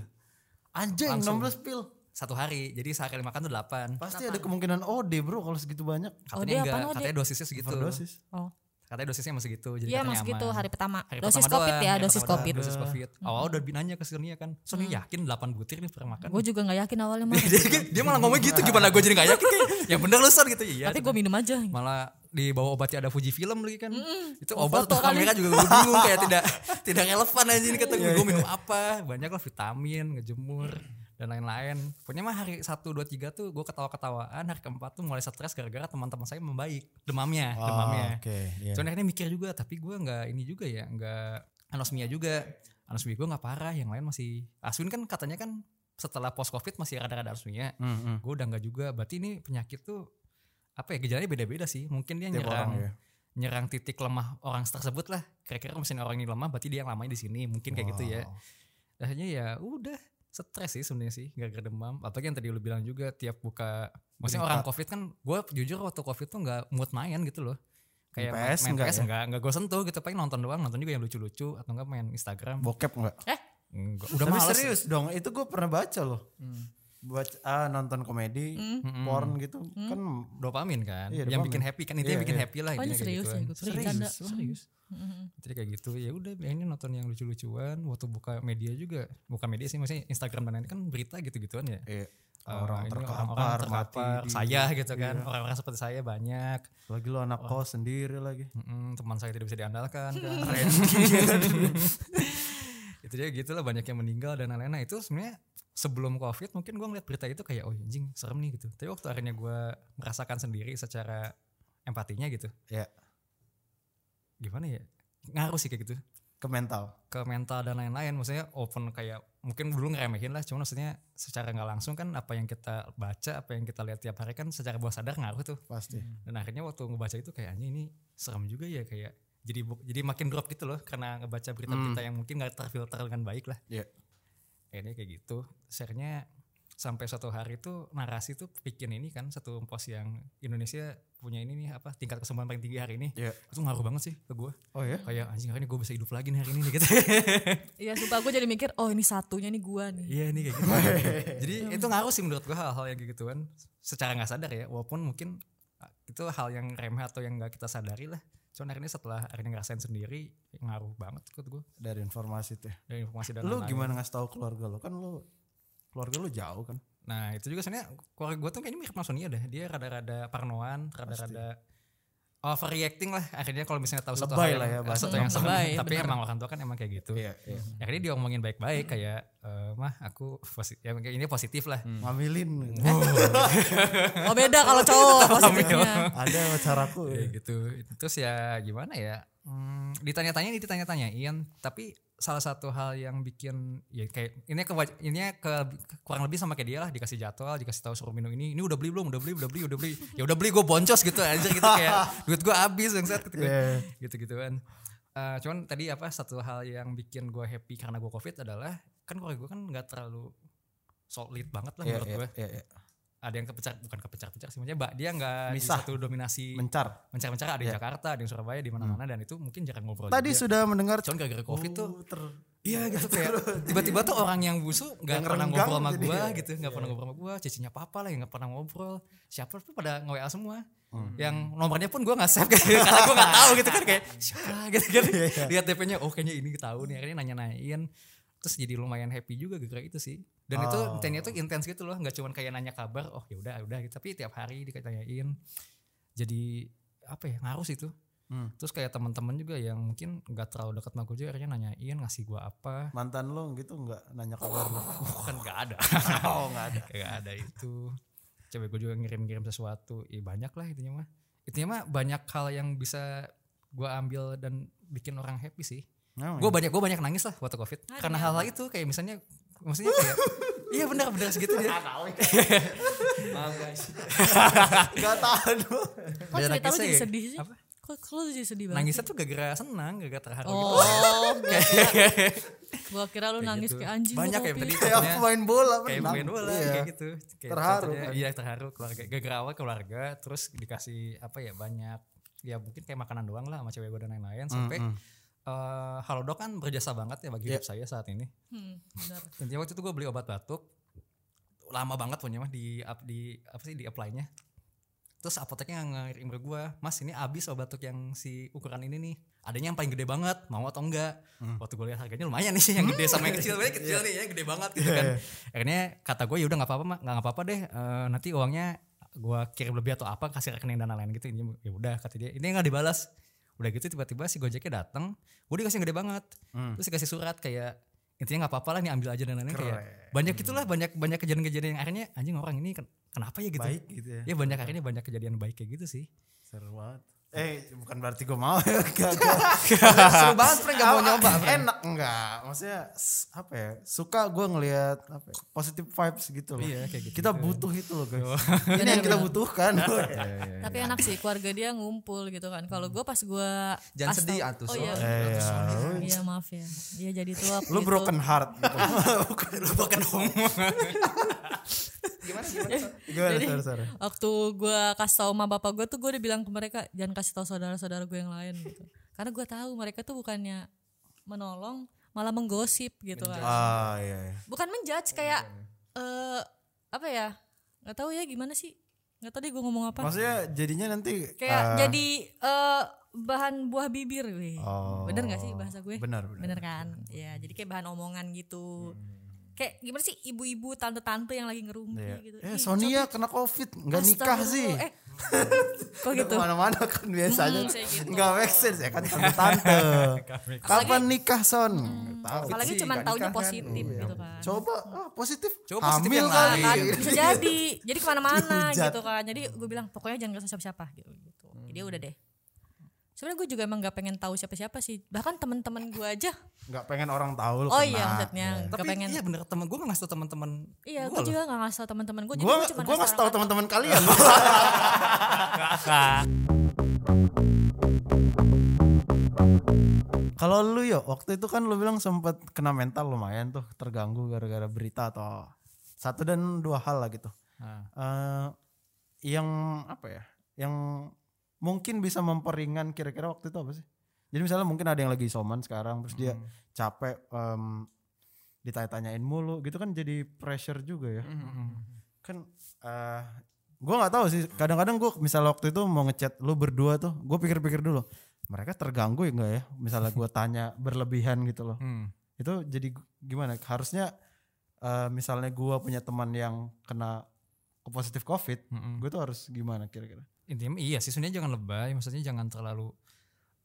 [SPEAKER 1] Anjing,
[SPEAKER 2] Langsung.
[SPEAKER 1] 16 pil.
[SPEAKER 2] satu hari. Jadi sehari makan tuh 8.
[SPEAKER 1] Pasti ada kemungkinan OD, Bro, kalau segitu banyak.
[SPEAKER 2] Katanya
[SPEAKER 5] dia
[SPEAKER 2] enggak,
[SPEAKER 5] apaan, oh,
[SPEAKER 2] katanya dosisnya
[SPEAKER 1] Gitu.
[SPEAKER 2] segitu.
[SPEAKER 1] Overdosis.
[SPEAKER 5] oh
[SPEAKER 2] Katanya dosisnya masih gitu. Jadi
[SPEAKER 5] iya
[SPEAKER 2] katanya
[SPEAKER 5] mas gitu
[SPEAKER 2] aman.
[SPEAKER 5] hari pertama
[SPEAKER 2] Hari
[SPEAKER 5] dosis
[SPEAKER 2] pertama
[SPEAKER 5] covid
[SPEAKER 2] doang,
[SPEAKER 5] ya
[SPEAKER 2] hari
[SPEAKER 5] dosis
[SPEAKER 2] pertama doang,
[SPEAKER 5] covid Hmm.
[SPEAKER 2] Dosis covid. Hmm. Awal udah nanya ke Sonia kan. Sonia yakin 8 butir nih pernah makan.
[SPEAKER 5] gue juga nggak yakin awalnya mas
[SPEAKER 2] Jadi kan dia malah ngomong gitu gimana gue jadi gak yakin kayak yang bener lu Son gitu iya
[SPEAKER 5] tapi gue minum aja
[SPEAKER 2] malah di bawah obatnya ada Fuji film lagi kan itu obat
[SPEAKER 5] hmm. foto
[SPEAKER 2] untuk
[SPEAKER 5] kali. Iya,
[SPEAKER 2] kamera juga gue bingung kayak tidak tidak relevan aja ini kata gue minum apa banyak lah vitamin ngejemur dan lain-lain pokoknya mah hari 1, 2, 3 tuh gue ketawa-ketawaan hari keempat tuh mulai stres gara-gara teman-teman saya membaik demamnya
[SPEAKER 1] Ah,
[SPEAKER 2] demamnya
[SPEAKER 1] Oke, iya.
[SPEAKER 2] Soalnya akhirnya mikir juga tapi gue nggak ini juga ya nggak anosmia juga anosmia gue nggak parah yang lain masih Aswin kan katanya kan setelah post covid masih rada-rada anosmia
[SPEAKER 1] Hmm, hmm.
[SPEAKER 2] gue udah nggak juga berarti ini penyakit tuh apa ya gejalanya beda-beda sih mungkin dia
[SPEAKER 1] Tiap orang
[SPEAKER 2] nyerang
[SPEAKER 1] ya.
[SPEAKER 2] nyerang titik lemah orang tersebut lah kira-kira mesin orang ini lemah berarti dia yang lamanya di sini mungkin kayak gitu ya akhirnya ya udah stres sih sebenarnya sih gara-gara demam apalagi yang tadi lu bilang juga tiap buka maksudnya orang covid kan gue jujur waktu covid tuh nggak mood main gitu loh kayak main-
[SPEAKER 1] PS
[SPEAKER 2] main
[SPEAKER 1] nggak
[SPEAKER 2] PS
[SPEAKER 1] ya?
[SPEAKER 2] nggak nggak gue sentuh gitu paling nonton doang nonton juga yang lucu-lucu atau enggak main Instagram
[SPEAKER 1] Bokep enggak?
[SPEAKER 2] Nggak, udah
[SPEAKER 1] Tapi
[SPEAKER 2] males
[SPEAKER 1] serius dong, itu gue pernah baca loh. Buat ah, nonton komedi, porn gitu kan
[SPEAKER 2] dopamin kan
[SPEAKER 1] Iya,
[SPEAKER 2] yang
[SPEAKER 1] dopamin.
[SPEAKER 2] bikin happy kan itu yang
[SPEAKER 1] Iya,
[SPEAKER 2] bikin
[SPEAKER 1] iya.
[SPEAKER 2] happy lah
[SPEAKER 5] Oh, ini
[SPEAKER 2] intinya kayak
[SPEAKER 5] serius ya,
[SPEAKER 2] gituan.
[SPEAKER 5] gue kira bercanda.
[SPEAKER 2] serius
[SPEAKER 5] Hmm.
[SPEAKER 2] jadi kayak gitu ya udah ini nonton yang lucu-lucuan waktu buka media juga buka media sih maksudnya Instagram dan lain kan berita gitu-gituan ya
[SPEAKER 1] iya.
[SPEAKER 2] Eh,
[SPEAKER 1] orang
[SPEAKER 2] ini
[SPEAKER 1] terkapar, mati
[SPEAKER 2] terkapar,
[SPEAKER 1] di- Iya.
[SPEAKER 2] saya gitu kan orang-orang seperti saya banyak
[SPEAKER 1] Lagi lo anak kos sendiri lagi.
[SPEAKER 2] Mm-mm, teman saya tidak bisa diandalkan kan gitu itu dia gitulah banyak yang meninggal dan lain-lain nah itu sebenarnya sebelum covid mungkin gue ngeliat berita itu kayak oh anjing serem nih gitu tapi waktu akhirnya gue merasakan sendiri secara empatinya gitu
[SPEAKER 1] Ya.
[SPEAKER 2] gimana ya ngaruh sih kayak gitu
[SPEAKER 1] ke mental.
[SPEAKER 2] ke mental dan lain-lain maksudnya open kayak mungkin dulu ngeremehin lah cuman maksudnya secara nggak langsung kan apa yang kita baca apa yang kita lihat tiap hari kan secara bawah sadar ngaruh tuh
[SPEAKER 1] Pasti.
[SPEAKER 2] dan akhirnya waktu ngebaca itu kayaknya ini serem juga ya kayak jadi bu- jadi makin drop gitu loh karena ngebaca berita-berita yang mungkin nggak terfilter dengan baik lah
[SPEAKER 1] Hmm. Iya.
[SPEAKER 2] akhirnya kayak gitu akhirnya sampai suatu hari itu narasi tuh bikin ini kan satu pos yang Indonesia punya ini nih apa tingkat kesembuhan paling tinggi hari ini
[SPEAKER 1] Iya.
[SPEAKER 2] itu ngaruh banget sih ke gue
[SPEAKER 1] Oh ya?
[SPEAKER 2] kayak anjing hari ini gue bisa hidup lagi nih hari ini nih, gitu
[SPEAKER 7] Iya, sumpah gue jadi mikir, oh ini satunya nih gua nih.
[SPEAKER 2] Iya nih kayak gitu. Jadi itu ngaruh sih menurut gua hal-hal yang kayak gituan. Secara nggak sadar ya, walaupun mungkin ah, itu hal yang remeh atau yang nggak kita sadari lah. Cuman akhirnya setelah akhirnya ngerasain sendiri ngaruh banget ikut gua
[SPEAKER 1] Dari informasi itu. ya.
[SPEAKER 2] dari informasi dan
[SPEAKER 1] Lu
[SPEAKER 2] lain-lain.
[SPEAKER 1] gimana ngasih tahu keluarga lu? Kan lu keluarga lu jauh kan?
[SPEAKER 2] Nah itu juga sebenarnya keluarga gue tuh kayaknya mirip Mas Sonia dah. Dia rada-rada parnoan, rada-rada overreacting lah. Akhirnya kalau misalnya tahu satu
[SPEAKER 1] Lebay
[SPEAKER 2] hal
[SPEAKER 1] lah ya
[SPEAKER 2] yang,
[SPEAKER 1] bahasa
[SPEAKER 2] satu yang
[SPEAKER 7] orang.
[SPEAKER 2] serem.
[SPEAKER 7] Lebay,
[SPEAKER 2] Tapi emang orang tua kan emang kayak gitu.
[SPEAKER 1] iya.
[SPEAKER 2] Akhirnya diomongin baik-baik kayak, eh, mah aku positif, ya, ini positif lah.
[SPEAKER 1] Hmm. Ngambilin. gitu.
[SPEAKER 7] Oh beda kalau cowok positifnya.
[SPEAKER 1] Ada caraku.
[SPEAKER 2] ya gitu terus ya gimana ya Hmm, ditanya-tanya ini ditanya-tanyain tapi salah satu hal yang bikin ya kayak ini ke ini ke kurang lebih sama kayak dia lah dikasih jadwal dikasih tahu suruh minum ini ini udah beli belum udah beli udah beli udah beli ya udah beli gue boncos gitu aja gitu kayak duit gue habis yang saat gitu
[SPEAKER 1] Iya.
[SPEAKER 2] gitu gituan Eh, cuman tadi apa satu hal yang bikin gue happy karena gue covid adalah kan keluarga gue kan nggak terlalu solid banget lah
[SPEAKER 1] Iya,
[SPEAKER 2] menurut
[SPEAKER 1] iya,
[SPEAKER 2] gue
[SPEAKER 1] iya, iya.
[SPEAKER 2] ada yang kepecar bukan kepecar-pecar sih maksudnya mbak dia nggak di
[SPEAKER 1] Misah.
[SPEAKER 2] satu dominasi
[SPEAKER 1] Mencar.
[SPEAKER 2] mencar-mencar ada di Jakarta, ada di Surabaya, di mana-mana dan itu mungkin jarang
[SPEAKER 1] Ya.
[SPEAKER 2] ngobrol.
[SPEAKER 1] Hmm. Tadi
[SPEAKER 2] juga.
[SPEAKER 1] sudah mendengar
[SPEAKER 2] cuman gara-gara Iya. Covid tuh
[SPEAKER 1] Oh, ter-
[SPEAKER 2] iya gitu kayak tiba-tiba tuh orang yang busuk nggak
[SPEAKER 1] Yang
[SPEAKER 2] pernah
[SPEAKER 1] renggang
[SPEAKER 2] ngobrol sama
[SPEAKER 1] jadi
[SPEAKER 2] gua
[SPEAKER 1] ya.
[SPEAKER 2] gitu, nggak pernah ngobrol sama gua, cicinya papa lah yang nggak pernah ngobrol. Siapa tuh pada nge-WA semua.
[SPEAKER 1] Hmm.
[SPEAKER 2] Yang nomornya pun gua nggak save kayak karena gua nggak tahu gitu kan kayak siapa gitu kan.
[SPEAKER 1] Iya,
[SPEAKER 2] Lihat DP-nya oh kayaknya ini tahu nih akhirnya nanya-nanyain terus jadi lumayan happy juga gara-gara itu sih dan itu
[SPEAKER 1] Oh.
[SPEAKER 2] tanya itu intens gitu loh nggak cuman kayak nanya kabar oh ya udah ya udah gitu tapi tiap hari ditanyain jadi apa ya ngaruh sih itu
[SPEAKER 1] Hmm.
[SPEAKER 2] terus kayak teman-teman juga yang mungkin nggak terlalu dekat sama gue juga akhirnya nanyain ngasih gue apa
[SPEAKER 1] mantan lu gitu nggak nanya kabar lu.
[SPEAKER 2] kan nggak ada
[SPEAKER 1] Oh, nggak ada.
[SPEAKER 2] nggak ada itu coba gue juga ngirim-ngirim sesuatu Ih, banyak lah intinya mah intinya mah banyak hal yang bisa gue ambil dan bikin orang happy sih
[SPEAKER 1] Emang
[SPEAKER 2] gue
[SPEAKER 4] Hmm.
[SPEAKER 1] ya?
[SPEAKER 2] banyak gue banyak nangis lah waktu covid karena hal-hal itu kayak misalnya maksudnya kayak iya benar benar segitu dia
[SPEAKER 4] Maaf guys.
[SPEAKER 1] nggak tahan lu.
[SPEAKER 7] Kok
[SPEAKER 2] Banyak
[SPEAKER 7] cerita lu
[SPEAKER 2] nangisnya
[SPEAKER 7] jadi
[SPEAKER 2] ya?
[SPEAKER 7] sedih sih?
[SPEAKER 2] Apa?
[SPEAKER 7] Kok kok lu jadi sedih banget?
[SPEAKER 2] nangisnya tuh gara-gara senang gara-gara terharu gitu
[SPEAKER 7] Oh, gua kira- gua kira lu nangis
[SPEAKER 2] gitu.
[SPEAKER 7] kayak anjing. gua
[SPEAKER 2] Banyak ya,
[SPEAKER 7] kopi.
[SPEAKER 2] tadi
[SPEAKER 1] Kayak aku main bola
[SPEAKER 2] kayak
[SPEAKER 1] menang.
[SPEAKER 2] main bola
[SPEAKER 1] Iya.
[SPEAKER 2] kayak gitu kayak
[SPEAKER 1] Terharu
[SPEAKER 2] contohnya,
[SPEAKER 1] kan?
[SPEAKER 2] iya terharu keluarga gara-gara awal keluarga terus dikasih apa ya banyak ya mungkin kayak makanan doang lah sama cewek gue dan lain-lain sampai eh, Halodoc kan berjasa banget ya bagi
[SPEAKER 1] Iya.
[SPEAKER 2] hidup saya saat ini
[SPEAKER 7] Hmm, benar.
[SPEAKER 2] intinya waktu itu gue beli obat batuk lama banget punya mah di up- di apa sih di apply-nya terus apoteknya ngirim ke gue mas ini abis obat batuk yang si ukuran ini nih adanya yang paling gede banget mau atau enggak waktu gue lihat harganya lumayan nih sih yang gede sama yang kecil Sebenarnya kecil nih yang gede banget gitu kan akhirnya kata gue ya udah nggak apa-apa Mak. nggak apa-apa deh Eh, nanti uangnya gue kirim lebih atau apa kasih rekening dan lain-lain gitu Ini ya udah kata dia ini nggak dibalas udah gitu tiba-tiba si gojeknya datang gue dikasih yang gede banget terus dikasih surat kayak intinya nggak apa-apa lah nih ambil aja dan lain-lain kayak gitu. banyak itulah banyak banyak kejadian-kejadian yang akhirnya anjing orang ini ken- kenapa ya gitu
[SPEAKER 1] Baik gitu ya.
[SPEAKER 2] ya banyak akhirnya banyak kejadian baik kayak gitu sih
[SPEAKER 1] Seru banget. Eh, bukan berarti gue mau ya. Gak,
[SPEAKER 4] Seru banget Frank gak mau nyoba. Frank.
[SPEAKER 1] Enak enggak? Maksudnya s- apa ya? Suka gue ngelihat apa ya, positive vibes gitu loh.
[SPEAKER 2] Iya, kayak gitu. Oh. Iya,
[SPEAKER 1] Kita butuh itu loh guys. Ini yang kita butuhkan.
[SPEAKER 7] Tapi enak sih keluarga dia ngumpul gitu kan. Kalau gua pas gua
[SPEAKER 4] Jangan
[SPEAKER 7] pas
[SPEAKER 4] sedih,
[SPEAKER 7] tau-
[SPEAKER 4] atuh,
[SPEAKER 7] Oh iya.
[SPEAKER 1] Eh,
[SPEAKER 7] Iya maaf ya. Dia jadi tua.
[SPEAKER 1] lu
[SPEAKER 7] gitu.
[SPEAKER 1] broken heart. Gitu.
[SPEAKER 2] lu bukan homo
[SPEAKER 4] Gimana gimana? Frank?
[SPEAKER 1] Gimana? Sorry, sorry.
[SPEAKER 7] Waktu gua kasih tau sama bapak gua tuh gua udah bilang ke mereka jangan kasih tau saudara-saudara gue yang lain gitu. Karena gua tahu mereka tuh bukannya menolong malah menggosip gitu kan.
[SPEAKER 1] Ah iya. iya.
[SPEAKER 7] bukan menjudge kayak
[SPEAKER 1] ya.
[SPEAKER 7] eh apa ya nggak tahu ya gimana sih nggak tahu deh gue ngomong apa
[SPEAKER 1] Maksudnya jadinya nanti
[SPEAKER 7] kayak
[SPEAKER 1] ah,
[SPEAKER 7] jadi eh, bahan buah bibir weh.
[SPEAKER 1] Oh.
[SPEAKER 7] bener nggak sih bahasa gue
[SPEAKER 1] Benar, benar.
[SPEAKER 7] kan ya jadi kayak bahan omongan gitu kayak gimana sih ibu-ibu tante-tante yang lagi ngerumpi
[SPEAKER 1] Hmm. iya.
[SPEAKER 7] gitu
[SPEAKER 1] Eh
[SPEAKER 7] Ih,
[SPEAKER 1] Sonia kena covid, nggak nikah
[SPEAKER 7] astagfirullah.
[SPEAKER 1] sih.
[SPEAKER 7] eh,
[SPEAKER 5] oh
[SPEAKER 7] kok gitu
[SPEAKER 1] Mana-mana kan
[SPEAKER 7] Mm,
[SPEAKER 1] biasanya
[SPEAKER 7] saya gitu.
[SPEAKER 1] nggak make sense ya kan tante tante. Kapan nikah son? tahu.
[SPEAKER 5] apalagi
[SPEAKER 4] sih,
[SPEAKER 5] cuma
[SPEAKER 4] nggak
[SPEAKER 5] taunya
[SPEAKER 4] nikah kan.
[SPEAKER 5] positif gitu kan
[SPEAKER 1] Coba ah, positif.
[SPEAKER 2] Coba positif
[SPEAKER 1] Hamil
[SPEAKER 2] yang
[SPEAKER 1] kali.
[SPEAKER 5] kan bisa
[SPEAKER 1] iya.
[SPEAKER 5] jadi jadi kemana-mana
[SPEAKER 1] Dihujat.
[SPEAKER 5] gitu kan jadi gue bilang pokoknya jangan kasih siapa-siapa gitu gitu jadi udah deh sebenarnya gue juga emang gak pengen tahu siapa-siapa sih bahkan temen-temen gue aja
[SPEAKER 1] Nggak pengen orang tahu lu
[SPEAKER 5] oh
[SPEAKER 1] kena.
[SPEAKER 5] iya maksudnya gak
[SPEAKER 2] Tapi
[SPEAKER 5] pengen
[SPEAKER 2] iya bener temen gue nggak ngasih tau teman-teman.
[SPEAKER 5] iya
[SPEAKER 2] gua
[SPEAKER 5] gue juga gak ngasih tau temen-temen gue
[SPEAKER 1] Gue
[SPEAKER 5] cuma
[SPEAKER 1] gue ngasih
[SPEAKER 5] orang
[SPEAKER 1] tahu
[SPEAKER 5] kantor.
[SPEAKER 1] teman-teman kalian. Kalau lu yo waktu itu kan lu bilang sempat kena mental lumayan tuh terganggu gara-gara berita atau satu dan dua hal lah gitu.
[SPEAKER 2] Ah.
[SPEAKER 1] Eh, yang apa ya? Yang mungkin bisa memperingan kira-kira waktu itu apa sih? Jadi misalnya mungkin ada yang lagi isoman sekarang terus dia capek em, ditanya-tanyain mulu gitu kan jadi pressure juga ya.
[SPEAKER 4] Mm-hmm.
[SPEAKER 1] Kan eh gue nggak tahu sih kadang-kadang gue misalnya waktu itu mau ngechat lu berdua tuh gue pikir-pikir dulu mereka terganggu ya nggak ya misalnya gue tanya berlebihan gitu loh
[SPEAKER 2] Hmm.
[SPEAKER 1] itu jadi gu- gimana harusnya eh, misalnya gue punya teman yang kena positif covid
[SPEAKER 2] Mm-mm.
[SPEAKER 1] gue tuh harus gimana kira-kira
[SPEAKER 2] Intinya iya sih sebenarnya jangan lebay, maksudnya jangan terlalu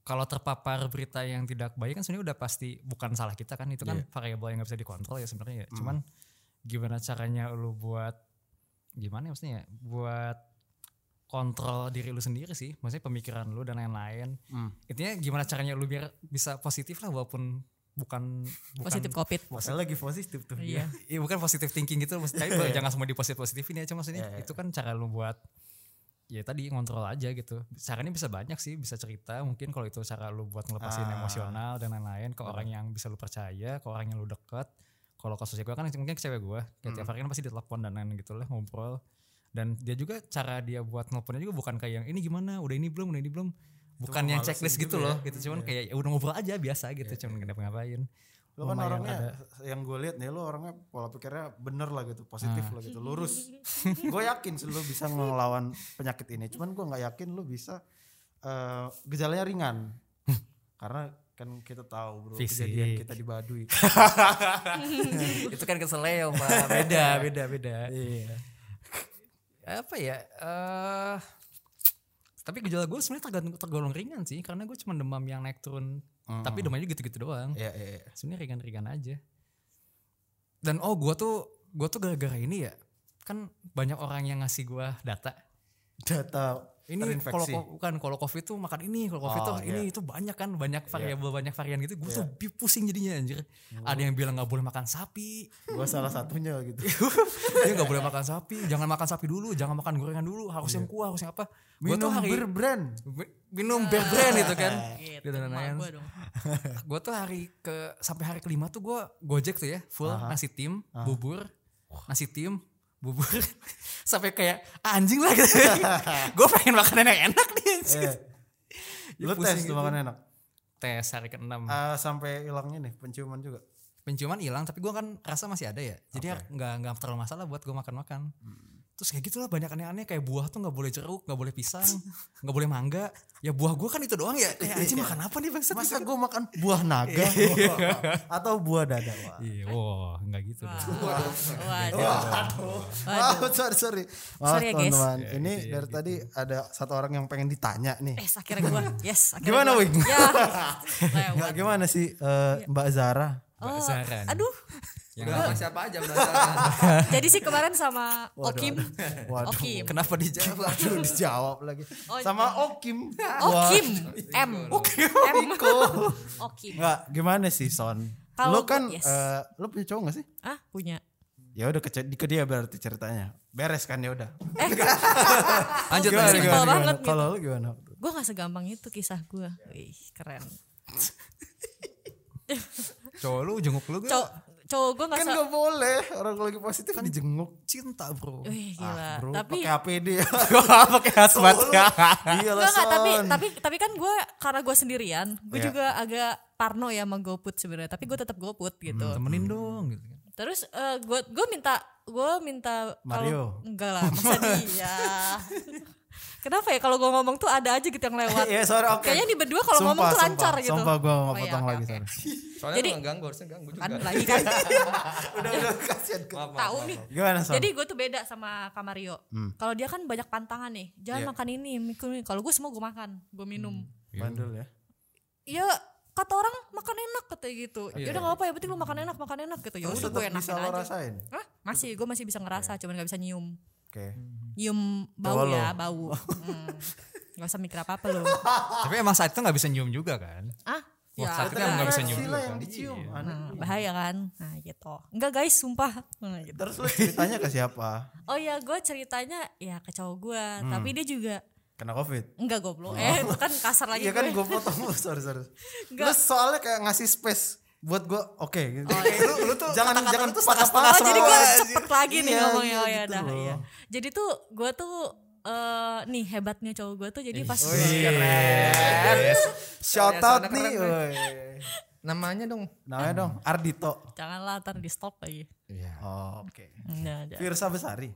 [SPEAKER 2] kalau terpapar berita yang tidak baik kan sebenarnya udah pasti bukan salah kita kan itu kan variabel yang nggak bisa dikontrol ya sebenarnya ya. Cuman gimana caranya lu buat gimana ya maksudnya ya? buat kontrol diri lu sendiri sih, maksudnya pemikiran lu dan lain-lain.
[SPEAKER 1] Hmm.
[SPEAKER 2] Intinya gimana caranya lu biar bisa positif lah walaupun bukan bukan
[SPEAKER 5] positif covid
[SPEAKER 1] Masalah lagi positif tuh
[SPEAKER 5] iya
[SPEAKER 2] Iya bukan positif thinking gitu maksudnya tapi jangan semua di positif positifin ya cuma maksudnya
[SPEAKER 1] Iya, iya.
[SPEAKER 2] itu kan cara lu buat ya tadi ngontrol aja gitu caranya bisa banyak sih bisa cerita mungkin kalau itu cara lu buat ngelepasin
[SPEAKER 1] Ah. Iya.
[SPEAKER 2] emosional dan lain-lain ke orang yang bisa lu percaya ke orang yang lu deket kalau kasusnya gue kan mungkin ke cewek gue kayak
[SPEAKER 1] Hmm.
[SPEAKER 2] tiap hari kan pasti ditelepon dan lain gitu lah ngobrol dan dia juga cara dia buat nelponnya juga bukan kayak yang ini gimana udah ini belum udah ini belum bukan yang
[SPEAKER 1] memalesin
[SPEAKER 2] checklist gitu
[SPEAKER 1] juga ya.
[SPEAKER 2] loh
[SPEAKER 1] Iya,
[SPEAKER 2] gitu cuman kayak ya udah ngobrol aja biasa gitu cuman kenapa ngapain
[SPEAKER 1] lo kan
[SPEAKER 2] Lumayan
[SPEAKER 1] orangnya
[SPEAKER 2] ada.
[SPEAKER 1] yang gue lihat nih lo orangnya pola pikirnya bener lah gitu positif
[SPEAKER 2] Nah.
[SPEAKER 1] lah gitu lurus gue yakin sih lo bisa ngelawan penyakit ini cuman gue nggak yakin lo bisa eh, gejalanya ringan karena kan kita tahu bro kejadian
[SPEAKER 2] Fisik.
[SPEAKER 1] kita di Baduy
[SPEAKER 2] itu kan keseleo pak beda beda beda
[SPEAKER 1] Iya.
[SPEAKER 2] apa ya eh tapi gejala gue sebenarnya tergantung tergolong ringan sih karena gue cuma demam yang naik turun
[SPEAKER 1] Mm.
[SPEAKER 2] tapi demamnya gitu-gitu doang
[SPEAKER 1] Hmm. Iya, iya, iya.
[SPEAKER 2] sebenarnya ringan-ringan aja dan oh gue tuh gue tuh gara-gara ini ya kan banyak orang yang ngasih gue data
[SPEAKER 1] data
[SPEAKER 2] ini kalau ko- bukan kalau covid tuh makan ini kalau covid
[SPEAKER 1] Oh,
[SPEAKER 2] tuh
[SPEAKER 1] iya.
[SPEAKER 2] ini itu banyak kan banyak variabel banyak varian gitu gue tuh bi- pusing jadinya anjir ada yang bilang nggak boleh makan sapi
[SPEAKER 1] gue salah satunya gitu
[SPEAKER 2] dia nggak boleh makan sapi jangan makan sapi dulu jangan makan gorengan dulu harus yang kuah harus yang apa gue tuh
[SPEAKER 1] Iya. minum
[SPEAKER 2] hari
[SPEAKER 1] berbrand
[SPEAKER 2] bi- minum bear brand itu kan
[SPEAKER 5] gitu,
[SPEAKER 2] gitu dan
[SPEAKER 5] emak
[SPEAKER 2] lain
[SPEAKER 5] gua dong.
[SPEAKER 2] gue tuh hari ke sampai hari kelima tuh gue gojek tuh ya full nasi tim bubur nasi tim bubur sampai kayak "Ah, anjing lah gitu gue pengen makanan yang enak nih
[SPEAKER 1] Eh,
[SPEAKER 2] anjing. Iya. Ya,
[SPEAKER 1] lu
[SPEAKER 2] pusing Hmm.
[SPEAKER 1] tes tuh
[SPEAKER 2] gitu.
[SPEAKER 1] makan enak
[SPEAKER 2] tes hari ke enam
[SPEAKER 1] Ah, sampai hilangnya nih penciuman juga
[SPEAKER 2] penciuman hilang tapi gua kan rasa masih ada ya jadi nggak nggak terlalu masalah buat gua makan makan
[SPEAKER 1] Hmm.
[SPEAKER 2] terus kayak gitulah banyak aneh-aneh kayak buah tuh nggak boleh jeruk nggak boleh pisang nggak boleh mangga ya buah gua kan itu doang ya
[SPEAKER 1] Iya.
[SPEAKER 2] kayak anjing makan apa nih bangsa
[SPEAKER 1] masa gue makan buah naga Iya. atau buah dada wah.
[SPEAKER 2] iya wah nggak gitu dong
[SPEAKER 5] waduh
[SPEAKER 1] Maaf, sorry sorry maaf
[SPEAKER 5] Sorry ya, guys.
[SPEAKER 1] teman-teman ini dari tadi ada satu orang yang pengen ditanya nih
[SPEAKER 5] eh akhirnya gue yes akhirnya
[SPEAKER 1] Gimana,
[SPEAKER 5] gua.
[SPEAKER 1] Wing?
[SPEAKER 5] ya lewat. Oh,
[SPEAKER 1] nggak gimana sih eh,
[SPEAKER 5] Iya.
[SPEAKER 1] Mbak Zara
[SPEAKER 2] Mbak Zara nih.
[SPEAKER 5] aduh
[SPEAKER 2] yang
[SPEAKER 4] Udah sama siapa aja belajar.
[SPEAKER 5] jadi sih kemarin sama Okim
[SPEAKER 1] waduh
[SPEAKER 5] Okim Oh, iya.
[SPEAKER 2] kenapa dijawab
[SPEAKER 1] Waduh dijawab lagi sama Okim
[SPEAKER 5] Okim Oh, M
[SPEAKER 1] Oh,
[SPEAKER 5] Oh, M Okim
[SPEAKER 1] nggak gimana sih Son lu
[SPEAKER 5] Kalau
[SPEAKER 1] kan
[SPEAKER 5] gua- yes.
[SPEAKER 1] eh, lu punya cowok gak sih
[SPEAKER 5] ah punya
[SPEAKER 1] ya udah ke, ke dia berarti ceritanya beres kan ya udah Gimana,
[SPEAKER 2] lanjut lanjut.
[SPEAKER 1] gimana,
[SPEAKER 5] Oh, banget
[SPEAKER 1] gimana?
[SPEAKER 5] gitu.
[SPEAKER 1] kalau lu gimana
[SPEAKER 5] gue gak segampang itu kisah gue wih keren
[SPEAKER 2] cowok lu jenguk lu
[SPEAKER 5] cowok
[SPEAKER 2] gak
[SPEAKER 5] cowok gue gak
[SPEAKER 1] kan
[SPEAKER 5] se-
[SPEAKER 1] gak boleh orang lagi positif kan dijenguk
[SPEAKER 2] cinta bro
[SPEAKER 5] wih gila
[SPEAKER 1] ah, bro
[SPEAKER 5] tapi
[SPEAKER 1] pakai APD
[SPEAKER 2] gua pakai hazmat ya.
[SPEAKER 1] iya lah
[SPEAKER 5] Enggak, enggak, tapi
[SPEAKER 1] Son.
[SPEAKER 5] tapi tapi kan gue karena gue sendirian gue
[SPEAKER 1] Iya.
[SPEAKER 5] juga agak parno ya sama GoFood sebenarnya tapi gue tetap GoFood gitu
[SPEAKER 1] Hmm,
[SPEAKER 2] temenin dong gitu kan
[SPEAKER 5] terus gue gue minta gue minta kalau-
[SPEAKER 1] Mario.
[SPEAKER 5] enggak lah masa dia kenapa ya kalau gue ngomong tuh ada aja gitu yang lewat
[SPEAKER 1] Iya, sorry, oke.
[SPEAKER 5] kayaknya di berdua kalau ngomong
[SPEAKER 1] Sumpah,
[SPEAKER 5] tuh lancar
[SPEAKER 1] sumpah.
[SPEAKER 5] gitu
[SPEAKER 1] Sumpah gue mau
[SPEAKER 5] Oh, iya,
[SPEAKER 1] potong
[SPEAKER 5] oke,
[SPEAKER 1] lagi
[SPEAKER 5] oke.
[SPEAKER 1] sorang.
[SPEAKER 4] Soalnya
[SPEAKER 5] Jadi-
[SPEAKER 4] Jadi, ganggu, harusnya ganggu juga.
[SPEAKER 5] kan lagi kan
[SPEAKER 1] Udah udah kasihan ke.
[SPEAKER 4] Maaf, maaf,
[SPEAKER 5] tahu
[SPEAKER 4] maaf,
[SPEAKER 5] nih
[SPEAKER 4] maaf.
[SPEAKER 1] Gimana Son?
[SPEAKER 5] Jadi gue tuh beda sama Kak Mario. Kalau dia kan banyak pantangan nih. Jangan
[SPEAKER 1] Iya.
[SPEAKER 5] ya makan ini, mikir ini. Kalau gue semua gue makan, gue minum.
[SPEAKER 1] bandel ya.
[SPEAKER 5] Iya kata orang makan enak kata gitu ya udah nggak apa ya penting lu makan enak makan enak gitu ya
[SPEAKER 8] Terus
[SPEAKER 5] udah gue
[SPEAKER 8] tetap
[SPEAKER 5] enakin
[SPEAKER 8] bisa lo
[SPEAKER 5] aja
[SPEAKER 8] rasain.
[SPEAKER 5] Hah? masih gue masih bisa ngerasa cuman nggak bisa nyium
[SPEAKER 2] Nah,
[SPEAKER 1] Oke.
[SPEAKER 5] nyium bau
[SPEAKER 1] Coba
[SPEAKER 5] ya
[SPEAKER 1] lo.
[SPEAKER 5] bau Hmm. nggak usah mikir apa apa lo
[SPEAKER 2] Tapi emang saat itu nggak bisa nyium juga kan?
[SPEAKER 5] ah
[SPEAKER 2] Wah,
[SPEAKER 5] ya
[SPEAKER 2] sakitnya nggak bisa Iya. nyium
[SPEAKER 8] Sila
[SPEAKER 2] juga.
[SPEAKER 8] yang dicium. aneh.
[SPEAKER 5] nah, bahaya kan nah gitu enggak guys sumpah Nah, gitu.
[SPEAKER 8] Terus lo ceritanya ke siapa?
[SPEAKER 5] oh ya gue ceritanya ya ke cowok gue tapi dia juga
[SPEAKER 1] Kena covid.
[SPEAKER 5] enggak goblok eh itu kan kasar lagi
[SPEAKER 8] Iya kan
[SPEAKER 5] gue
[SPEAKER 8] gue potong lu, sorry sorry.
[SPEAKER 5] Enggak.
[SPEAKER 8] Lu soalnya kayak ngasih space buat gue, oke. gitu.
[SPEAKER 1] Lu, lu tuh
[SPEAKER 8] jangan jangan
[SPEAKER 5] iya. Oh,
[SPEAKER 8] patah-patah
[SPEAKER 5] jadi gue
[SPEAKER 8] semua.
[SPEAKER 5] harus cepet lagi nih
[SPEAKER 8] Iya,
[SPEAKER 5] ngomongnya.
[SPEAKER 8] iya,
[SPEAKER 5] oh, ya
[SPEAKER 8] gitu
[SPEAKER 5] dah,
[SPEAKER 8] loh.
[SPEAKER 5] iya. Jadi tuh gue tuh eh nih hebatnya cowok gue tuh jadi pas
[SPEAKER 8] oh, iya.
[SPEAKER 5] Iya,
[SPEAKER 8] Shout
[SPEAKER 4] Soalnya
[SPEAKER 8] out
[SPEAKER 4] soalnya
[SPEAKER 8] nih.
[SPEAKER 4] keren,
[SPEAKER 8] woi.
[SPEAKER 4] Namanya dong.
[SPEAKER 8] Namanya dong Ardito.
[SPEAKER 5] janganlah ntar di stop lagi.
[SPEAKER 1] Iya.
[SPEAKER 8] Oh, oke.
[SPEAKER 5] Nah, dah.
[SPEAKER 8] Firsa Besari.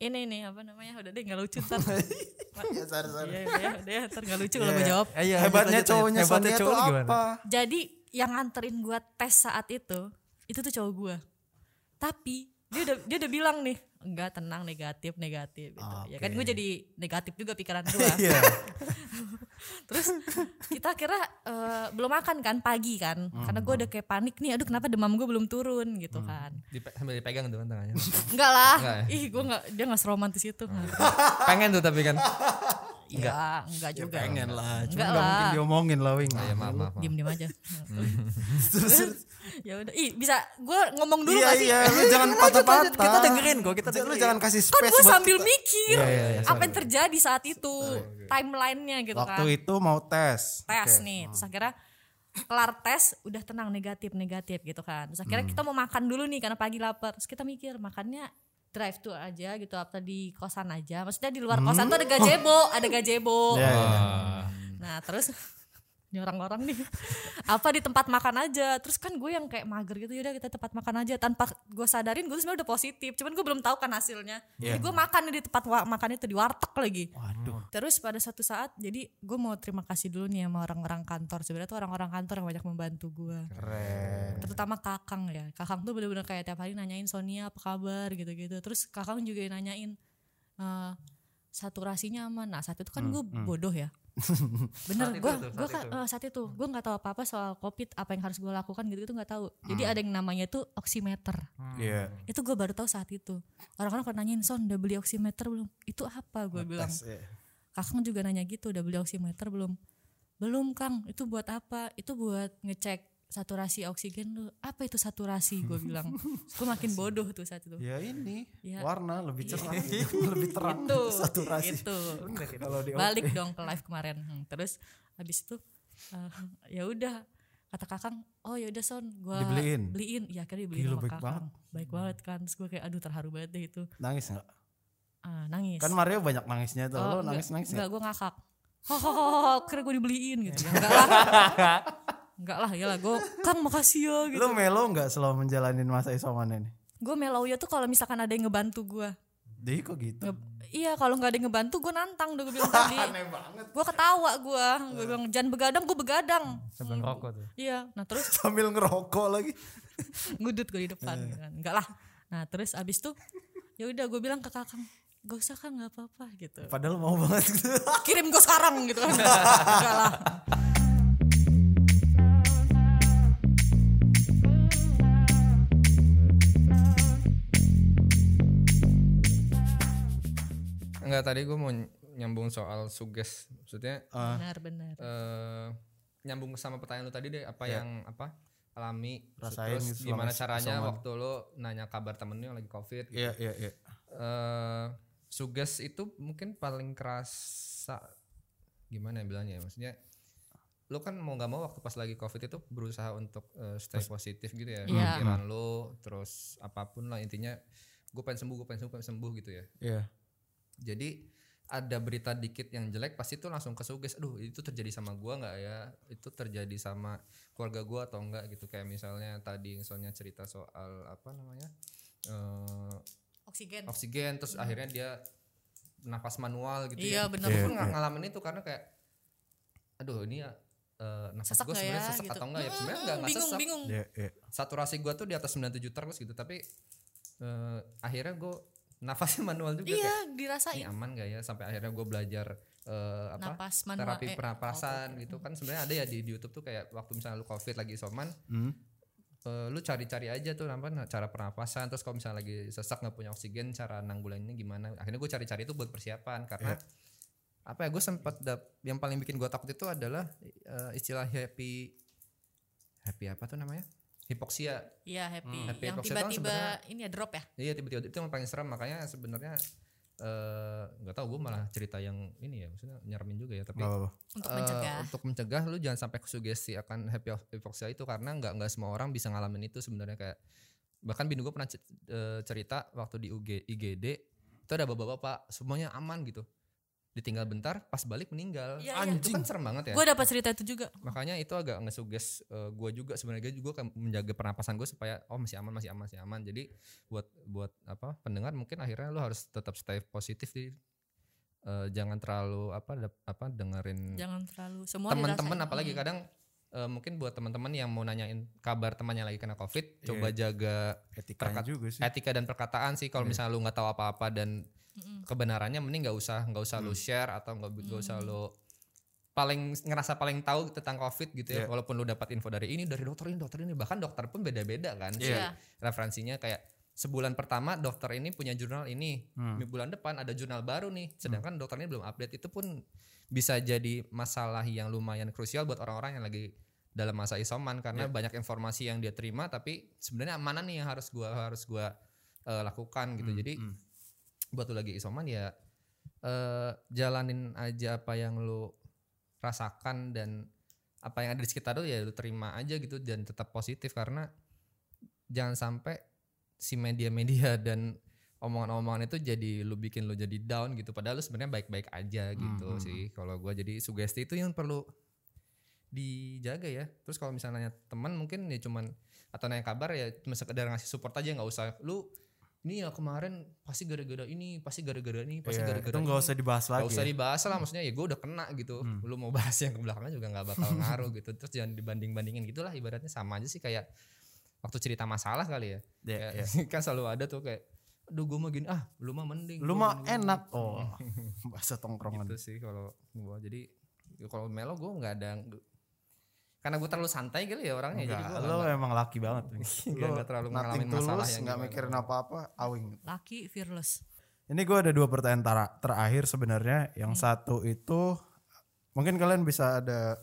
[SPEAKER 5] ini nih apa namanya udah deh nggak lucu ntar.
[SPEAKER 8] ya, sorry, sorry.
[SPEAKER 5] Iya udah ya, udah ya, ntar nggak lucu kalau gue jawab.
[SPEAKER 1] Eh,
[SPEAKER 2] Iya,
[SPEAKER 8] Hebatnya
[SPEAKER 2] lanjut, lanjut.
[SPEAKER 8] cowoknya
[SPEAKER 2] Hebatnya
[SPEAKER 8] Sonia tuh
[SPEAKER 2] cowok gimana?
[SPEAKER 8] apa?
[SPEAKER 5] Jadi yang nganterin gue tes saat itu itu tuh cowok gue. Tapi dia udah dia udah bilang nih enggak tenang negatif negatif gitu. Ya kan gue jadi negatif juga pikiran gue.
[SPEAKER 8] Iya.
[SPEAKER 5] Terus kita kira eh, belum makan kan pagi kan, karena gue udah kayak panik nih, aduh kenapa demam gue belum turun gitu kan.
[SPEAKER 4] Dipe- sambil dipegang tuh kan tangannya.
[SPEAKER 5] Enggak lah,
[SPEAKER 4] Enggak ya?
[SPEAKER 5] ih gue nggak dia nggak seromantis itu.
[SPEAKER 4] Pengen tuh tapi kan.
[SPEAKER 5] Enggak, enggak juga.
[SPEAKER 1] pengen lah. Cuma
[SPEAKER 5] Enggak
[SPEAKER 1] nggak mungkin
[SPEAKER 5] lah.
[SPEAKER 1] diomongin lah Wing.
[SPEAKER 4] Ya maaf maaf. maaf.
[SPEAKER 5] Diem diem aja. Terus, ya udah, ih bisa gue ngomong dulu
[SPEAKER 8] Iya
[SPEAKER 5] gak sih?
[SPEAKER 8] iya, lu jangan patah-patah.
[SPEAKER 2] Kita dengerin kok, kita
[SPEAKER 8] Lu jangan kasih
[SPEAKER 5] Kan
[SPEAKER 8] space
[SPEAKER 5] gue
[SPEAKER 8] buat
[SPEAKER 5] sambil mikir apa yang terjadi saat itu, timelinenya gitu
[SPEAKER 1] Waktu
[SPEAKER 5] kan.
[SPEAKER 1] itu mau tes.
[SPEAKER 5] tes
[SPEAKER 1] Oke.
[SPEAKER 5] nih. Terus akhirnya kelar tes udah tenang negatif negatif gitu kan. Terus akhirnya kita mau makan dulu nih karena pagi lapar. Terus kita mikir makannya drive thru aja gitu apa di kosan aja. Maksudnya di luar kosan tuh ada gazebo, ada gazebo.
[SPEAKER 1] Iya, iya.
[SPEAKER 5] Nah, terus ini orang-orang nih apa di tempat makan aja terus kan gue yang kayak mager gitu yaudah kita tempat makan aja tanpa gue sadarin gue tuh sebenarnya udah positif cuman gue belum tahu kan hasilnya jadi gue makan nih di tempat wa- makan itu di warteg lagi terus pada satu saat jadi gue mau terima kasih dulu nih sama orang-orang kantor sebenarnya tuh orang-orang kantor yang banyak membantu gue terutama kakang ya kakang tuh bener-bener kayak tiap hari nanyain Sonia apa kabar gitu-gitu terus kakang juga yang nanyain eh, saturasinya aman nah saat itu kan gue bodoh ya bener gue gue kan eh, saat itu gue nggak tahu apa-apa soal covid apa yang harus gue lakukan gitu-gitu nggak tahu jadi ada yang namanya tuh oximeter
[SPEAKER 1] Iya.
[SPEAKER 5] itu gue baru tahu saat itu orang-orang kalau nanyain son udah beli oximeter belum itu apa gue bilang
[SPEAKER 1] Tes, iya.
[SPEAKER 5] Kakang juga nanya gitu, udah beli oximeter belum? Belum Kang, itu buat apa? Itu buat ngecek saturasi oksigen lu. Apa itu saturasi? Gue bilang. Gue makin bodoh tuh saat itu.
[SPEAKER 1] Ya ini
[SPEAKER 5] Iya. Gitu.
[SPEAKER 1] warna lebih cerah, gitu, lebih terang,
[SPEAKER 5] Itu,
[SPEAKER 1] saturasi. ya.
[SPEAKER 5] Itu.
[SPEAKER 1] Kalau di
[SPEAKER 5] Balik dong ke live kemarin. Hmm, terus habis itu eh, ya udah kata kakang oh ya udah son gue
[SPEAKER 1] Dibeliin.
[SPEAKER 5] beliin ya akhirnya dibeliin
[SPEAKER 1] Gila,
[SPEAKER 5] sama
[SPEAKER 1] baik
[SPEAKER 5] kakang baik banget kan terus gue kayak aduh terharu banget deh itu
[SPEAKER 1] nangis nggak?
[SPEAKER 5] Ah, nangis
[SPEAKER 1] Kan Mario banyak nangisnya tuh. Lo nangis nangis
[SPEAKER 5] Oh, Enggak,
[SPEAKER 1] nggak?
[SPEAKER 5] gue ngakak. Hahaha, kira gue dibeliin gitu. Ya, enggak lah. enggak lah, ya lah gue, Kang makasih ya gitu.
[SPEAKER 1] Lo melo nggak selama menjalani masa isoman ini?
[SPEAKER 5] Gue melau ya tuh kalau misalkan ada yang ngebantu gue.
[SPEAKER 1] Jadi kok gitu?
[SPEAKER 5] Iya, kalau nggak ada yang ngebantu gue nantang udah gue bilang tadi. Gue ketawa gue,
[SPEAKER 1] Eh.
[SPEAKER 5] gue bilang jangan begadang, gue begadang.
[SPEAKER 2] Sambil ngerokok tuh.
[SPEAKER 5] Iya, nah terus
[SPEAKER 1] Sambil ngerokok lagi.
[SPEAKER 5] ngudut gue di depan
[SPEAKER 1] Eh.
[SPEAKER 5] gitu kan. enggak lah nah terus abis tuh ya udah gue bilang ke kakang gak usah kang nggak apa-apa gitu
[SPEAKER 1] Padahal mau banget gitu.
[SPEAKER 5] kirim gue sekarang gitu kan enggak lah
[SPEAKER 4] Enggak tadi gue mau nyambung soal suges. Maksudnya
[SPEAKER 5] benar benar
[SPEAKER 4] eh nyambung sama pertanyaan lu tadi deh apa yang apa alami
[SPEAKER 1] Ya. Rasain
[SPEAKER 4] terus
[SPEAKER 1] gitu selama
[SPEAKER 4] gimana caranya
[SPEAKER 1] isoman.
[SPEAKER 4] waktu lu nanya kabar temen lu yang lagi covid gitu.
[SPEAKER 1] Iya iya iya.
[SPEAKER 4] eh suges itu mungkin paling kerasa gimana ya bilangnya ya maksudnya lu kan mau nggak mau waktu pas lagi covid itu berusaha untuk eh, stay positif gitu ya
[SPEAKER 5] Iya.
[SPEAKER 4] pikiran lu terus apapun lah intinya gue pengen sembuh gue pengen sembuh pengen sembuh gitu ya
[SPEAKER 1] Iya.
[SPEAKER 4] jadi ada berita dikit yang jelek pasti itu langsung ke suges aduh itu terjadi sama gua nggak ya itu terjadi sama keluarga gua atau enggak gitu kayak misalnya tadi yang soalnya cerita soal apa namanya eh,
[SPEAKER 5] oksigen
[SPEAKER 4] oksigen terus akhirnya dia nafas manual gitu
[SPEAKER 5] Hmm.
[SPEAKER 4] ya
[SPEAKER 5] Iya, benar.
[SPEAKER 4] Terus gua nggak ngalamin itu karena kayak aduh ini eh, nafas
[SPEAKER 5] Sesak
[SPEAKER 4] gue
[SPEAKER 5] nggak
[SPEAKER 4] sebenarnya
[SPEAKER 5] ya,
[SPEAKER 4] sesak
[SPEAKER 5] gitu.
[SPEAKER 4] atau enggak ya sebenarnya enggak enggak
[SPEAKER 5] bingung
[SPEAKER 4] sesak
[SPEAKER 5] bingung
[SPEAKER 1] Iya iya.
[SPEAKER 4] saturasi gua tuh di atas 97 terus gitu tapi eh, akhirnya gue nafasnya manual juga
[SPEAKER 5] iya
[SPEAKER 4] kayak, ini
[SPEAKER 5] dirasain
[SPEAKER 4] aman gak ya sampai akhirnya gue belajar eh, apa
[SPEAKER 5] napas manual
[SPEAKER 4] terapi
[SPEAKER 5] eh,
[SPEAKER 4] pernapasan gitu kan sebenarnya ada ya di, di YouTube tuh kayak waktu misalnya lu covid lagi isoman
[SPEAKER 1] Hmm?
[SPEAKER 4] eh, lu cari-cari aja tuh apa nah, cara pernapasan terus kalau misalnya lagi sesak nggak punya oksigen cara nanggulanginnya gimana akhirnya gue cari-cari itu buat persiapan karena apa ya gue sempat dap- yang paling bikin gue takut itu adalah eh, istilah happy happy apa tuh namanya hipoksia
[SPEAKER 5] iya happy
[SPEAKER 4] Hmm. Happy
[SPEAKER 5] yang
[SPEAKER 4] hypoxia itu kan
[SPEAKER 5] tiba-tiba
[SPEAKER 4] sebenarnya-
[SPEAKER 5] ini ya drop ya
[SPEAKER 4] Iya tiba-tiba itu yang paling serem makanya sebenarnya eh, nggak tahu gue malah cerita yang ini ya maksudnya nyeremin juga ya tapi
[SPEAKER 1] Nggak apa-apa.
[SPEAKER 5] untuk
[SPEAKER 4] eh,
[SPEAKER 5] mencegah
[SPEAKER 4] untuk mencegah lu jangan sampai sugesti akan happy hypoxia itu karena nggak nggak semua orang bisa ngalamin itu sebenarnya kayak bahkan bini gue pernah ce- eh, cerita waktu di UG, IGD itu ada bapak-bapak semuanya aman gitu ditinggal bentar pas balik meninggal
[SPEAKER 5] Iya, iya.
[SPEAKER 4] itu kan serem banget ya Hmm.
[SPEAKER 5] gue dapat cerita itu juga
[SPEAKER 4] makanya itu agak ngesuges eh, gua juga sebenarnya juga kan menjaga pernapasan gue supaya oh masih aman masih aman masih aman jadi buat buat apa pendengar mungkin akhirnya lu harus tetap stay positif di eh, jangan terlalu apa dap- apa dengerin
[SPEAKER 5] jangan terlalu semua
[SPEAKER 4] teman-teman
[SPEAKER 5] dirasain. Hmm,
[SPEAKER 4] apalagi kadang eh, mungkin buat teman-teman yang mau nanyain kabar temannya lagi kena covid coba jaga
[SPEAKER 1] Etikanya
[SPEAKER 4] Perkat-
[SPEAKER 1] juga sih.
[SPEAKER 4] etika dan perkataan sih kalau misalnya lu nggak tahu apa-apa dan
[SPEAKER 5] hmm,
[SPEAKER 4] kebenarannya mending nggak usah nggak usah lu share atau nggak nggak usah lu paling ngerasa paling tahu tentang covid gitu ya walaupun lu dapat info dari ini dari dokter ini dokter ini bahkan dokter pun beda-beda kan sih
[SPEAKER 5] Iya.
[SPEAKER 4] referensinya kayak sebulan pertama dokter ini punya jurnal ini
[SPEAKER 1] Hmm.
[SPEAKER 4] Di bulan depan ada jurnal baru nih sedangkan dokter ini belum update itu pun bisa jadi masalah yang lumayan krusial buat orang-orang yang lagi dalam masa isoman karena banyak informasi yang dia terima tapi sebenarnya mana nih yang harus gua harus gua eh, lakukan gitu
[SPEAKER 1] Hmm.
[SPEAKER 4] jadi buat lu lagi isoman ya eh jalanin aja apa yang lu rasakan dan apa yang ada di sekitar lu ya lu terima aja gitu dan tetap positif karena jangan sampai si media-media dan omongan-omongan itu jadi lu bikin lu jadi down gitu padahal lu sebenarnya baik-baik aja gitu sih kalau gua jadi sugesti itu yang perlu dijaga ya terus kalau misalnya nanya teman mungkin ya cuman atau nanya kabar ya cuma sekedar ngasih support aja nggak usah lu ini ya kemarin pasti gara-gara ini pasti gara-gara ini pasti
[SPEAKER 1] Iya,
[SPEAKER 4] gara-gara
[SPEAKER 1] itu nggak
[SPEAKER 4] ini."
[SPEAKER 1] usah dibahas lagi. Hmm.
[SPEAKER 4] Gak usah
[SPEAKER 1] ya.
[SPEAKER 4] dibahas lah maksudnya ya gue udah kena gitu. Lu mau bahas yang ke belakangnya juga nggak bakal ngaruh gitu. Terus jangan dibanding-bandingin gitu lah ibaratnya sama aja sih kayak waktu cerita masalah kali ya.
[SPEAKER 1] Iya,
[SPEAKER 4] Kayak- kan selalu ada tuh kayak aduh gue mah gini ah lu mah mending.
[SPEAKER 1] Lu
[SPEAKER 4] gua
[SPEAKER 1] mah
[SPEAKER 4] mending, gua
[SPEAKER 1] enak. Oh, bahasa tongkrongan.
[SPEAKER 4] gitu sih kalau gua jadi ya kalau Melo gue nggak ada karena gue terlalu santai kali ya orangnya
[SPEAKER 1] Enggak,
[SPEAKER 4] jadi gue
[SPEAKER 1] lo emang laki banget.
[SPEAKER 4] Nggak- nggak terlalu ngalamin masalah
[SPEAKER 8] tulus,
[SPEAKER 4] yang
[SPEAKER 8] nggak
[SPEAKER 4] gimana.
[SPEAKER 8] mikirin apa-apa, awing.
[SPEAKER 5] laki fearless
[SPEAKER 1] Ini gue ada dua pertanyaan tara- terakhir sebenarnya. Yang satu itu mungkin kalian bisa ada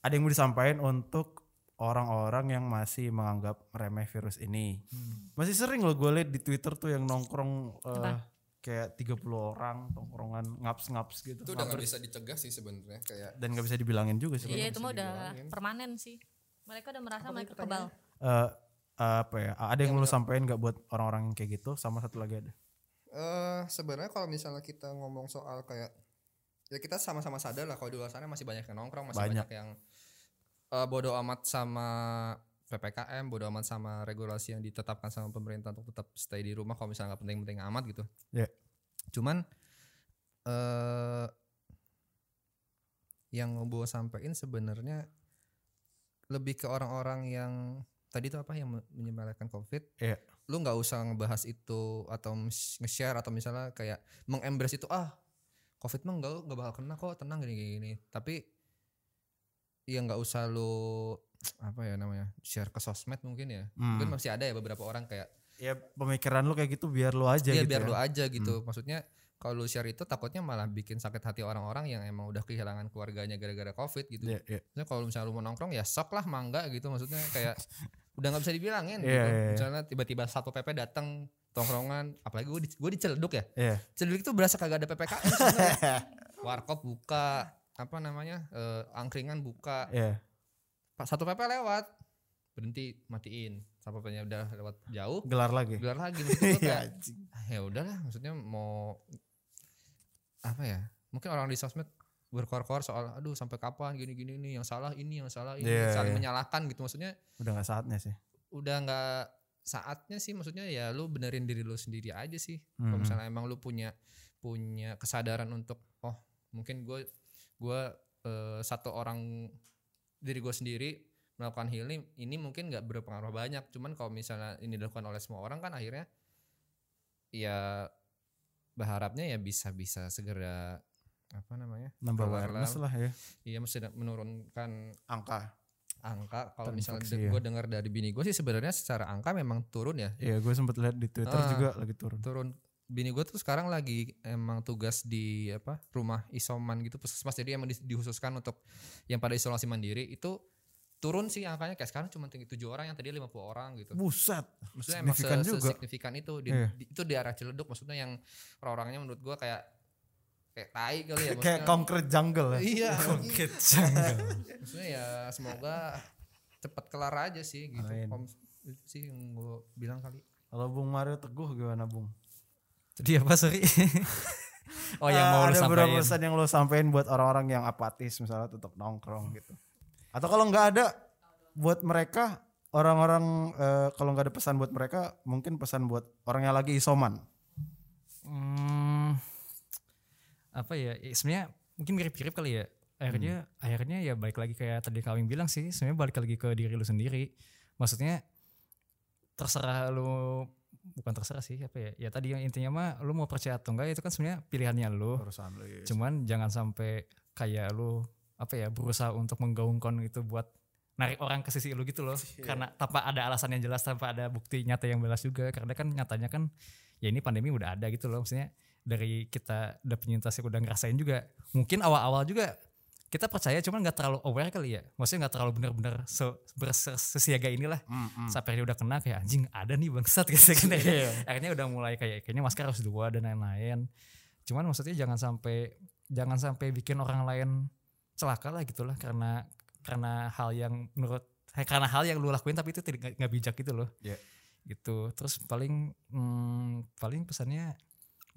[SPEAKER 1] ada yang mau disampaikan untuk orang-orang yang masih menganggap remeh virus ini. Masih sering loh gue liat di Twitter tuh yang nongkrong eh, kayak 30 orang tongkrongan ngaps-ngaps gitu.
[SPEAKER 9] itu udah nggak
[SPEAKER 1] Ngabers.
[SPEAKER 9] bisa dicegah sih sebenarnya kayak
[SPEAKER 1] dan nggak bisa dibilangin juga sih.
[SPEAKER 5] iya itu mah udah permanen sih mereka udah merasa mereka kebal
[SPEAKER 1] Eh, apa ya? Ada yang, lo sampein nggak buat orang-orang yang kayak gitu? Sama satu lagi ada.
[SPEAKER 9] eh
[SPEAKER 4] sebenarnya kalau misalnya kita ngomong soal kayak ya kita sama-sama sadar lah kalau di luar sana masih banyak yang nongkrong masih banyak,
[SPEAKER 1] Banyak.
[SPEAKER 4] yang eh, bodoh amat sama ppkm bodoh amat sama regulasi yang ditetapkan sama pemerintah untuk tetap stay di rumah kalau misalnya nggak penting-penting amat gitu
[SPEAKER 1] Iya.
[SPEAKER 4] cuman eh yang gue sampein sebenarnya lebih ke orang-orang yang tadi itu apa yang menyebabkan covid
[SPEAKER 1] Iya.
[SPEAKER 4] lu nggak usah ngebahas itu atau mes- nge-share atau misalnya kayak mengembrace itu ah covid mah nggak nggak bakal kena kok tenang gini gini, gini. tapi ya nggak usah lu apa ya namanya share ke sosmed mungkin ya
[SPEAKER 1] Hmm.
[SPEAKER 4] mungkin masih ada ya beberapa orang kayak
[SPEAKER 1] Ya pemikiran lo kayak gitu biar lo aja
[SPEAKER 4] Iya
[SPEAKER 1] gitu. ya.
[SPEAKER 4] biar lu aja gitu. Maksudnya kalau lu share itu takutnya malah bikin sakit hati orang-orang yang emang udah kehilangan keluarganya gara-gara covid gitu.
[SPEAKER 1] Iya, iya.
[SPEAKER 4] Maksudnya kalau misalnya lu mau nongkrong ya sok lah mangga gitu. Maksudnya kayak udah nggak bisa dibilangin.
[SPEAKER 1] Iya,
[SPEAKER 4] gitu.
[SPEAKER 1] iya, iya.
[SPEAKER 4] Misalnya tiba-tiba satu pp datang tongkrongan, apalagi gue di, gue di Ciledug ya.
[SPEAKER 1] Iya.
[SPEAKER 4] Ciledug itu berasa kagak ada ppkm. sebenarnya. Warkop buka, apa namanya eh, angkringan buka.
[SPEAKER 1] Iya.
[SPEAKER 4] Pas Satu pp lewat berhenti matiin. Satu pp-nya udah lewat jauh
[SPEAKER 1] Gelar lagi.
[SPEAKER 4] gelar lagi maksudnya gua
[SPEAKER 1] Iya,
[SPEAKER 4] kayak, "Ah, ya udahlah maksudnya mau apa ya mungkin orang di sosmed berkor-kor soal aduh sampai kapan gini-gini nih yang salah ini yang salah ini
[SPEAKER 1] Iya,
[SPEAKER 4] saling
[SPEAKER 1] iya.
[SPEAKER 4] menyalahkan gitu maksudnya
[SPEAKER 1] Udah nggak saatnya sih.
[SPEAKER 4] udah nggak saatnya sih maksudnya ya lu benerin diri lu sendiri aja sih kalau
[SPEAKER 1] Mhm.
[SPEAKER 4] misalnya emang lu punya punya kesadaran untuk oh mungkin gue gue eh, satu orang diri gue sendiri melakukan healing ini mungkin nggak berpengaruh banyak cuman kalau misalnya ini dilakukan oleh semua orang kan akhirnya ya berharapnya ya bisa-bisa segera apa namanya
[SPEAKER 1] nambah
[SPEAKER 4] Alarm.
[SPEAKER 1] awareness lah ya
[SPEAKER 4] iya mesti da- menurunkan
[SPEAKER 8] angka
[SPEAKER 4] angka kalau misalnya
[SPEAKER 1] Terinfeksi, ya.
[SPEAKER 4] gue dengar dari bini gue sih sebenarnya secara angka memang turun ya
[SPEAKER 1] Iya gue sempet lihat di Twitter
[SPEAKER 4] Ah.
[SPEAKER 1] juga lagi turun
[SPEAKER 4] turun bini gue tuh sekarang lagi emang tugas di apa rumah isoman gitu puskesmas jadi emang di- dihususkan untuk yang pada isolasi mandiri itu turun sih angkanya kayak sekarang cuma tinggi tujuh orang yang tadi 50 orang gitu
[SPEAKER 1] Buset
[SPEAKER 4] maksudnya emang
[SPEAKER 1] signifikan
[SPEAKER 4] se-
[SPEAKER 1] juga.
[SPEAKER 4] signifikan itu di,
[SPEAKER 1] Iya.
[SPEAKER 4] di- itu di arah Ciledug maksudnya yang orang-orangnya menurut gua kayak kayak tai kali ya
[SPEAKER 1] Kayak
[SPEAKER 4] maksudnya.
[SPEAKER 1] concrete jungle ya
[SPEAKER 4] iya
[SPEAKER 1] Concrete jungle
[SPEAKER 4] maksudnya ya semoga cepat kelar aja sih gitu
[SPEAKER 1] Amin.
[SPEAKER 4] Om, itu sih yang gua bilang kali
[SPEAKER 1] Kalau Bung Mario Teguh gimana Bung?
[SPEAKER 2] Jadi apa sorry? oh yang
[SPEAKER 1] Eh,
[SPEAKER 2] mau lu
[SPEAKER 1] Ada beberapa
[SPEAKER 2] sampaikan.
[SPEAKER 1] pesan yang lo sampein buat orang-orang yang apatis misalnya tetap nongkrong gitu Atau kalau nggak ada buat mereka Orang-orang eh, kalau nggak ada pesan buat mereka mungkin pesan buat orang yang lagi isoman
[SPEAKER 2] Hmm, apa ya? ya, Sebenarnya mungkin mirip-mirip kali ya. Akhirnya akhirnya ya balik lagi kayak tadi Kawing bilang sih, sebenarnya balik lagi ke diri lu sendiri. Maksudnya terserah lu bukan terserah sih apa ya? Ya tadi yang intinya mah lu mau percaya atau enggak itu kan sebenarnya pilihannya lu. iya.
[SPEAKER 1] Urusan lo ya
[SPEAKER 2] Cuman jangan sampai kayak lu apa ya berusaha untuk menggaungkan gitu buat narik orang ke sisi lu gitu loh. Karena tanpa ada alasan yang jelas, tanpa ada bukti nyata yang jelas juga. Karena kan nyatanya kan ya ini pandemi udah ada gitu loh. Maksudnya dari kita udah penyintas yang udah ngerasain juga. Mungkin awal-awal juga kita percaya cuman nggak terlalu aware kali ya. Maksudnya nggak terlalu benar-benar se berse- sesiaga inilah.
[SPEAKER 1] Hmm.
[SPEAKER 2] Sampai dia udah kena kayak anjing ada nih bangsat gitu kan. Akhirnya udah mulai kayak kayaknya masker harus dua dan lain-lain. Cuman maksudnya jangan sampai jangan sampai bikin orang lain celaka lah gitulah karena karena hal yang menurut eh, karena hal yang lu lakuin tapi itu tidak nggak bijak gitu loh
[SPEAKER 1] Iya.
[SPEAKER 2] gitu terus paling hmm, paling pesannya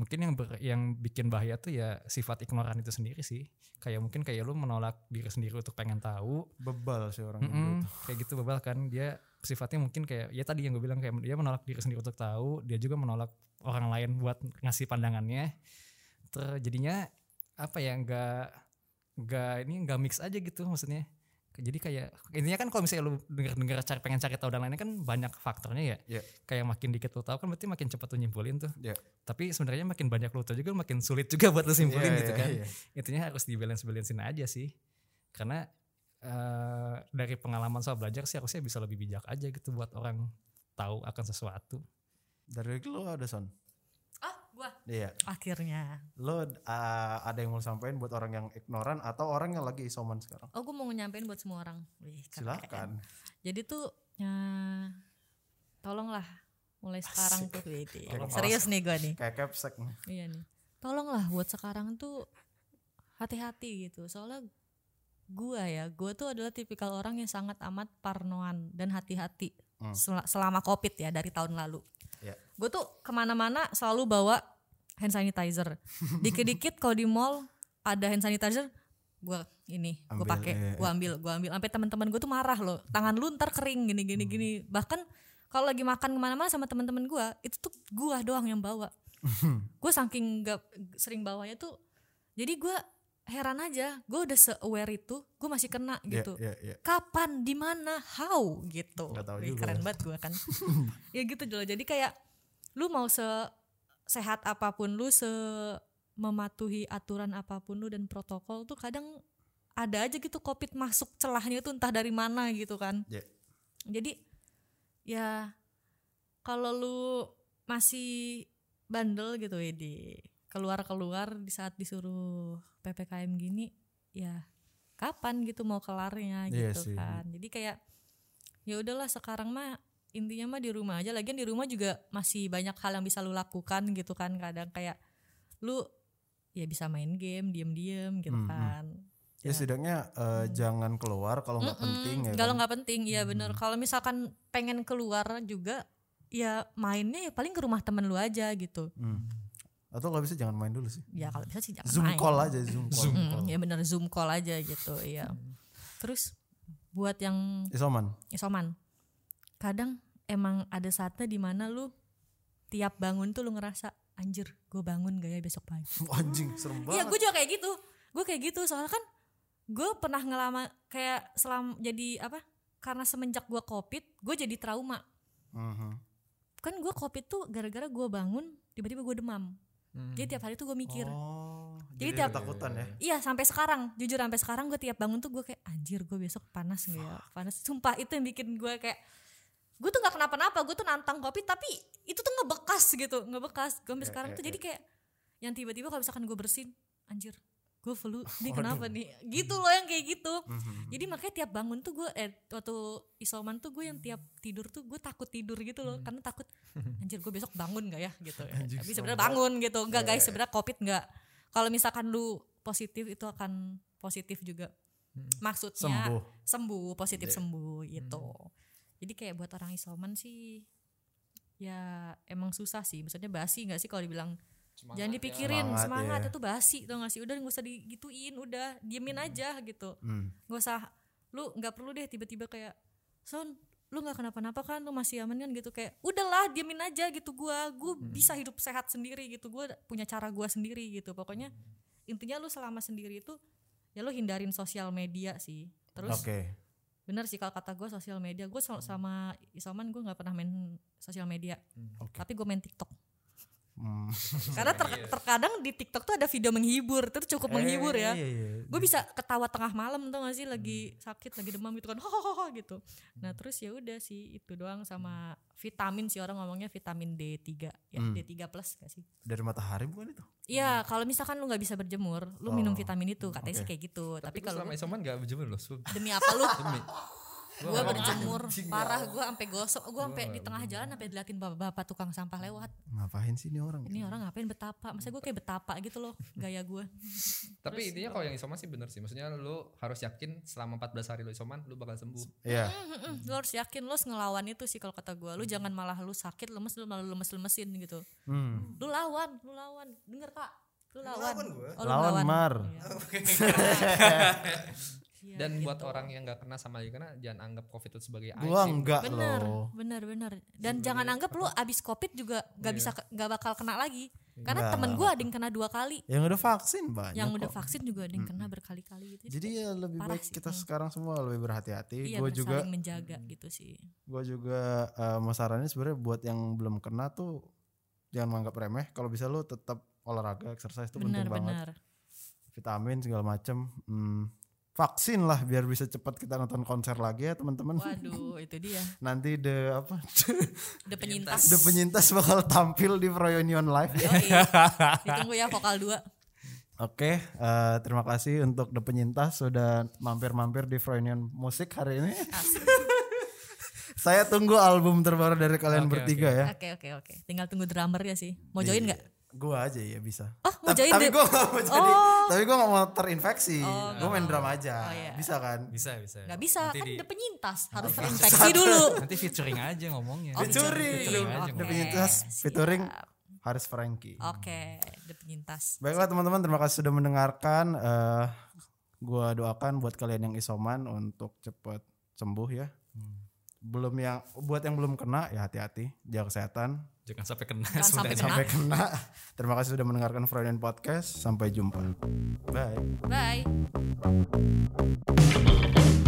[SPEAKER 2] mungkin yang ber- yang bikin bahaya tuh ya sifat ignoran itu sendiri sih kayak mungkin kayak lu menolak diri sendiri untuk pengen tahu
[SPEAKER 1] Bebal sih orang Indo
[SPEAKER 2] Mm-mm,
[SPEAKER 1] itu.
[SPEAKER 2] kayak gitu bebal kan dia sifatnya mungkin kayak ya tadi yang gue bilang kayak dia menolak diri sendiri untuk tahu dia juga menolak orang lain buat ngasih pandangannya Ter, jadinya apa ya nggak nggak ini nggak mix aja gitu maksudnya jadi kayak intinya kan kalau misalnya lu denger-denger cari pengen cari tahu dan lainnya kan banyak faktornya ya
[SPEAKER 1] Iya.
[SPEAKER 2] kayak makin dikit lu tahu kan berarti makin cepat lu nyimpulin tuh
[SPEAKER 1] Iya.
[SPEAKER 2] tapi sebenarnya makin banyak lu tahu juga makin sulit juga buat lu simpulin
[SPEAKER 1] Iya,
[SPEAKER 2] gitu
[SPEAKER 1] iya,
[SPEAKER 2] kan
[SPEAKER 1] iya.
[SPEAKER 2] intinya harus di balance balancein aja sih karena eh, dari pengalaman saya belajar sih harusnya bisa lebih bijak aja gitu buat orang tahu akan sesuatu
[SPEAKER 1] Dari lo ada son?
[SPEAKER 5] Ah, gua
[SPEAKER 1] Iya.
[SPEAKER 5] akhirnya.
[SPEAKER 1] Lo uh, ada yang mau sampein buat orang yang ignoran atau orang yang lagi isoman sekarang?
[SPEAKER 5] Oh, gua mau nyampein buat semua orang. Wih, keren.
[SPEAKER 1] Silakan.
[SPEAKER 5] Jadi tuh ya, tolonglah mulai sekarang tuh Wih, deh.
[SPEAKER 1] Tolong,
[SPEAKER 5] Serius nih gua nih.
[SPEAKER 1] Kayak capsek nih.
[SPEAKER 5] Iya nih. Tolonglah buat sekarang tuh hati-hati gitu. Soalnya gua ya, gua tuh adalah tipikal orang yang sangat amat parnoan dan hati-hati
[SPEAKER 1] Hmm.
[SPEAKER 5] sel- selama covid ya dari tahun lalu.
[SPEAKER 1] Iya.
[SPEAKER 5] Gue tuh kemana-mana selalu bawa hand sanitizer. Dikit-dikit kalau di mall ada hand sanitizer, gua ini gue
[SPEAKER 1] Ambil,
[SPEAKER 5] pakai,
[SPEAKER 1] iya,
[SPEAKER 5] gua ambil, gua ambil. Sampai teman-teman gue tuh marah loh. Tangan lu ntar kering gini
[SPEAKER 1] Hmm.
[SPEAKER 5] gini gini. Bahkan kalau lagi makan kemana-mana sama teman-teman gua, itu tuh gua doang yang bawa gue saking gak sering bawanya tuh jadi gue heran aja gue udah se aware itu gue masih kena
[SPEAKER 1] Iya,
[SPEAKER 5] gitu
[SPEAKER 1] iya, iya.
[SPEAKER 5] kapan di mana how gitu
[SPEAKER 1] Nggak tahu
[SPEAKER 5] Wih,
[SPEAKER 1] juga.
[SPEAKER 5] keren banget gue kan ya gitu loh jadi kayak lu mau se sehat apapun lu se mematuhi aturan apapun lu dan protokol tuh kadang ada aja gitu covid masuk celahnya tuh entah dari mana gitu kan
[SPEAKER 1] Iya.
[SPEAKER 5] jadi ya kalau lu masih bandel gitu ya di keluar keluar di saat disuruh ppkm gini ya kapan gitu mau kelarnya
[SPEAKER 1] Iya
[SPEAKER 5] gitu
[SPEAKER 1] sih.
[SPEAKER 5] kan jadi kayak ya udahlah sekarang mah intinya mah di rumah aja lagian di rumah juga masih banyak hal yang bisa lu lakukan gitu kan kadang kayak lu ya bisa main game diem diem gitu
[SPEAKER 1] Hmm, hmm.
[SPEAKER 5] kan
[SPEAKER 1] Ya setidaknya eh, jangan keluar kalau nggak
[SPEAKER 5] Hmm. Mm-mm,
[SPEAKER 1] penting ya.
[SPEAKER 5] Kalau
[SPEAKER 1] kan?
[SPEAKER 5] nggak penting, ya bener. Kalau misalkan pengen keluar juga, ya mainnya ya paling ke rumah temen lu aja gitu.
[SPEAKER 1] Hmm. Atau kalau bisa jangan main dulu sih.
[SPEAKER 5] Ya kalau bisa sih jangan
[SPEAKER 1] Zoom
[SPEAKER 5] main.
[SPEAKER 1] call aja, zoom call. Hmm.
[SPEAKER 5] Mm, ya bener zoom call aja gitu. Iya. Terus buat yang
[SPEAKER 1] Isoman.
[SPEAKER 5] isoman, kadang emang ada saatnya dimana lu tiap bangun tuh lu ngerasa anjir, gue bangun gak ya besok pagi.
[SPEAKER 1] Anjing, serem banget.
[SPEAKER 5] Iya gue juga kayak gitu Gue kayak gitu soalnya kan Gue pernah ngelama kayak selam jadi apa Karena semenjak gue covid Gue jadi trauma
[SPEAKER 1] Mhm.
[SPEAKER 5] kan gue covid tuh gara-gara gue bangun tiba-tiba gue demam
[SPEAKER 4] Hmm.
[SPEAKER 5] jadi tiap hari tuh gue mikir
[SPEAKER 1] Oh,
[SPEAKER 5] Jadi
[SPEAKER 1] jadi
[SPEAKER 5] tiap-
[SPEAKER 1] ketakutan ya.
[SPEAKER 5] Iya sampai sekarang jujur sampai sekarang gue tiap bangun tuh gue kayak anjir gue besok panas gak ya panas sumpah itu yang bikin gue kayak gue tuh nggak kenapa-napa gue tuh nantang kopi tapi itu tuh ngebekas gitu ngebekas gue sampai sekarang tuh jadi kayak yang tiba-tiba kalau misalkan gue bersin anjir gue flu nih kenapa nih gitu loh yang kayak gitu
[SPEAKER 1] Mm-hmm.
[SPEAKER 5] jadi makanya tiap bangun tuh gue eh waktu isoman tuh gue yang tiap tidur tuh gue takut tidur gitu loh karena takut anjir gue besok bangun nggak ya gitu ya. tapi sebenarnya bangun gitu enggak guys sebenarnya covid nggak kalau misalkan lu positif itu akan positif juga
[SPEAKER 4] Hmm.
[SPEAKER 5] maksudnya
[SPEAKER 1] Sembuh.
[SPEAKER 5] sembuh positif sembuh gitu jadi kayak buat orang isoman sih ya emang susah sih maksudnya basi nggak sih kalau dibilang
[SPEAKER 4] ya.
[SPEAKER 5] jangan dipikirin
[SPEAKER 1] Semangat,
[SPEAKER 5] semangat,
[SPEAKER 1] ya.
[SPEAKER 5] itu basi tau gak sih udah nggak usah digituin udah diemin aja gitu
[SPEAKER 1] Hmm.
[SPEAKER 5] nggak usah lu nggak perlu deh tiba-tiba kayak son lu nggak kenapa-napa kan lu masih aman kan gitu kayak udahlah diamin aja gitu gua gua
[SPEAKER 1] Hmm.
[SPEAKER 5] bisa hidup sehat sendiri gitu gua punya cara gua sendiri gitu pokoknya intinya lu selama sendiri itu ya lu hindarin sosial media sih terus
[SPEAKER 1] Oke.
[SPEAKER 5] bener sih kalau kata gua sosial media gue sama isoman gua nggak pernah main sosial media
[SPEAKER 4] Hmm.
[SPEAKER 1] Oke.
[SPEAKER 5] tapi gue main tiktok
[SPEAKER 1] Hmm.
[SPEAKER 5] karena ter- terkadang di tiktok tuh ada video menghibur itu cukup menghibur ya
[SPEAKER 1] Iya, iya.
[SPEAKER 5] gue bisa ketawa tengah malam tau gak sih lagi
[SPEAKER 1] Hmm.
[SPEAKER 5] sakit lagi demam gitu kan hohoho gitu nah terus ya udah sih itu doang sama vitamin sih orang ngomongnya vitamin D3 ya
[SPEAKER 1] Hmm.
[SPEAKER 5] D3 plus gak sih
[SPEAKER 1] Dari matahari bukan itu?
[SPEAKER 5] Iya kalau misalkan lu nggak bisa berjemur lu minum
[SPEAKER 1] Oh,
[SPEAKER 5] vitamin itu katanya sih
[SPEAKER 1] oke.
[SPEAKER 5] kayak gitu tapi,
[SPEAKER 4] Tapi
[SPEAKER 5] kalau
[SPEAKER 4] kalau selama
[SPEAKER 5] gua-
[SPEAKER 4] isoman gak berjemur loh. Sub.
[SPEAKER 5] demi apa lu
[SPEAKER 4] Demi.
[SPEAKER 5] gue berjemur parah gue sampai gosok gue sampai di tengah jalan sampai diliatin bapak-bapak tukang sampah lewat
[SPEAKER 1] Ngapain sih ini orang?
[SPEAKER 5] ini orang ngapain betapa masa gue kayak betapa gitu loh gaya gue
[SPEAKER 4] Tapi intinya kalau yang isoman sih bener sih. Maksudnya lu harus yakin selama 14 hari lu isoman lu bakal sembuh.
[SPEAKER 1] Iya.
[SPEAKER 5] Mm-mm, lu harus yakin lu harus ngelawan itu sih kalau kata gua lu jangan malah lu sakit lemes lu malah lemes lemesin gitu
[SPEAKER 1] Hmm.
[SPEAKER 5] lu lawan lu lawan denger kak lu lawan Oh, lu
[SPEAKER 1] Lawan, Mar.
[SPEAKER 5] Iya. Iya,
[SPEAKER 4] Dan buat
[SPEAKER 5] gitu.
[SPEAKER 4] orang yang gak kena sama lagi kena jangan anggap covid itu sebagai
[SPEAKER 1] Gua
[SPEAKER 4] aib sih.
[SPEAKER 1] enggak
[SPEAKER 5] bener
[SPEAKER 1] loh.
[SPEAKER 5] bener bener dan jangan anggap lu abis covid juga gak bisa gak bakal kena lagi karena
[SPEAKER 1] Enggak.
[SPEAKER 5] temen gua ada yang kena dua kali
[SPEAKER 1] Yang udah vaksin banyak.
[SPEAKER 5] yang udah
[SPEAKER 1] kok.
[SPEAKER 5] vaksin juga ada yang kena berkali-kali gitu
[SPEAKER 1] Jadi ya lebih
[SPEAKER 5] Parah
[SPEAKER 1] baik
[SPEAKER 5] sih.
[SPEAKER 1] kita
[SPEAKER 5] Hmm.
[SPEAKER 1] sekarang semua lebih berhati-hati.
[SPEAKER 5] iya
[SPEAKER 1] gue
[SPEAKER 5] bener,
[SPEAKER 1] juga
[SPEAKER 5] saling menjaga gitu sih
[SPEAKER 1] gue juga eh, mau saranin sebenarnya buat yang belum kena tuh jangan menganggap remeh kalau bisa lu tetap olahraga exercise itu penting
[SPEAKER 5] bener
[SPEAKER 1] banget
[SPEAKER 5] bener
[SPEAKER 1] vitamin segala macem Hmm, vaksin lah biar bisa cepat kita nonton konser lagi ya teman-teman
[SPEAKER 5] waduh itu dia Iya,
[SPEAKER 1] nanti the apa
[SPEAKER 5] udah penyintas
[SPEAKER 1] the penyintas bakal tampil di Froyonion live
[SPEAKER 5] Yoi. Oh, iya. ditunggu ya vokal dua
[SPEAKER 1] Oke, eh, terima kasih untuk The Penyintas sudah mampir-mampir di Froyonion Musik hari ini. Saya tunggu album terbaru dari kalian bertiga ya. Iya,
[SPEAKER 5] Oke oke oke. Tinggal tunggu drummer ya sih. Mau join nggak?
[SPEAKER 1] Gua aja ya bisa.
[SPEAKER 5] Oh mau
[SPEAKER 1] tapi
[SPEAKER 5] join
[SPEAKER 1] tapi
[SPEAKER 5] deh. Oh.
[SPEAKER 1] gue gak mau jadi, tapi gue gak mau terinfeksi. gue main drum aja,
[SPEAKER 5] iya.
[SPEAKER 1] bisa kan?
[SPEAKER 2] Bisa, bisa.
[SPEAKER 5] Nggak bisa
[SPEAKER 2] Nanti
[SPEAKER 5] kan
[SPEAKER 2] di-
[SPEAKER 5] udah penyintas harus terinfeksi dulu.
[SPEAKER 2] Nanti featuring aja ngomongnya.
[SPEAKER 5] Oh,
[SPEAKER 1] Featuring.
[SPEAKER 5] featuring.
[SPEAKER 2] aja
[SPEAKER 1] The
[SPEAKER 5] Oke,
[SPEAKER 1] Penyintas
[SPEAKER 5] siap.
[SPEAKER 1] featuring Haris Franky.
[SPEAKER 5] Oke, udah penyintas.
[SPEAKER 1] Baiklah teman-teman, terima kasih sudah mendengarkan. Eh, gua doakan buat kalian yang isoman untuk cepat sembuh ya.
[SPEAKER 5] Hmm.
[SPEAKER 1] Belum yang buat yang belum kena ya hati-hati, jaga kesehatan.
[SPEAKER 2] Jangan sampai kena
[SPEAKER 5] Jangan sampai
[SPEAKER 2] sebenarnya.
[SPEAKER 5] kena.
[SPEAKER 1] Sampai kena. Terima kasih sudah mendengarkan Freudian Podcast. Sampai jumpa. Bye.
[SPEAKER 5] Bye.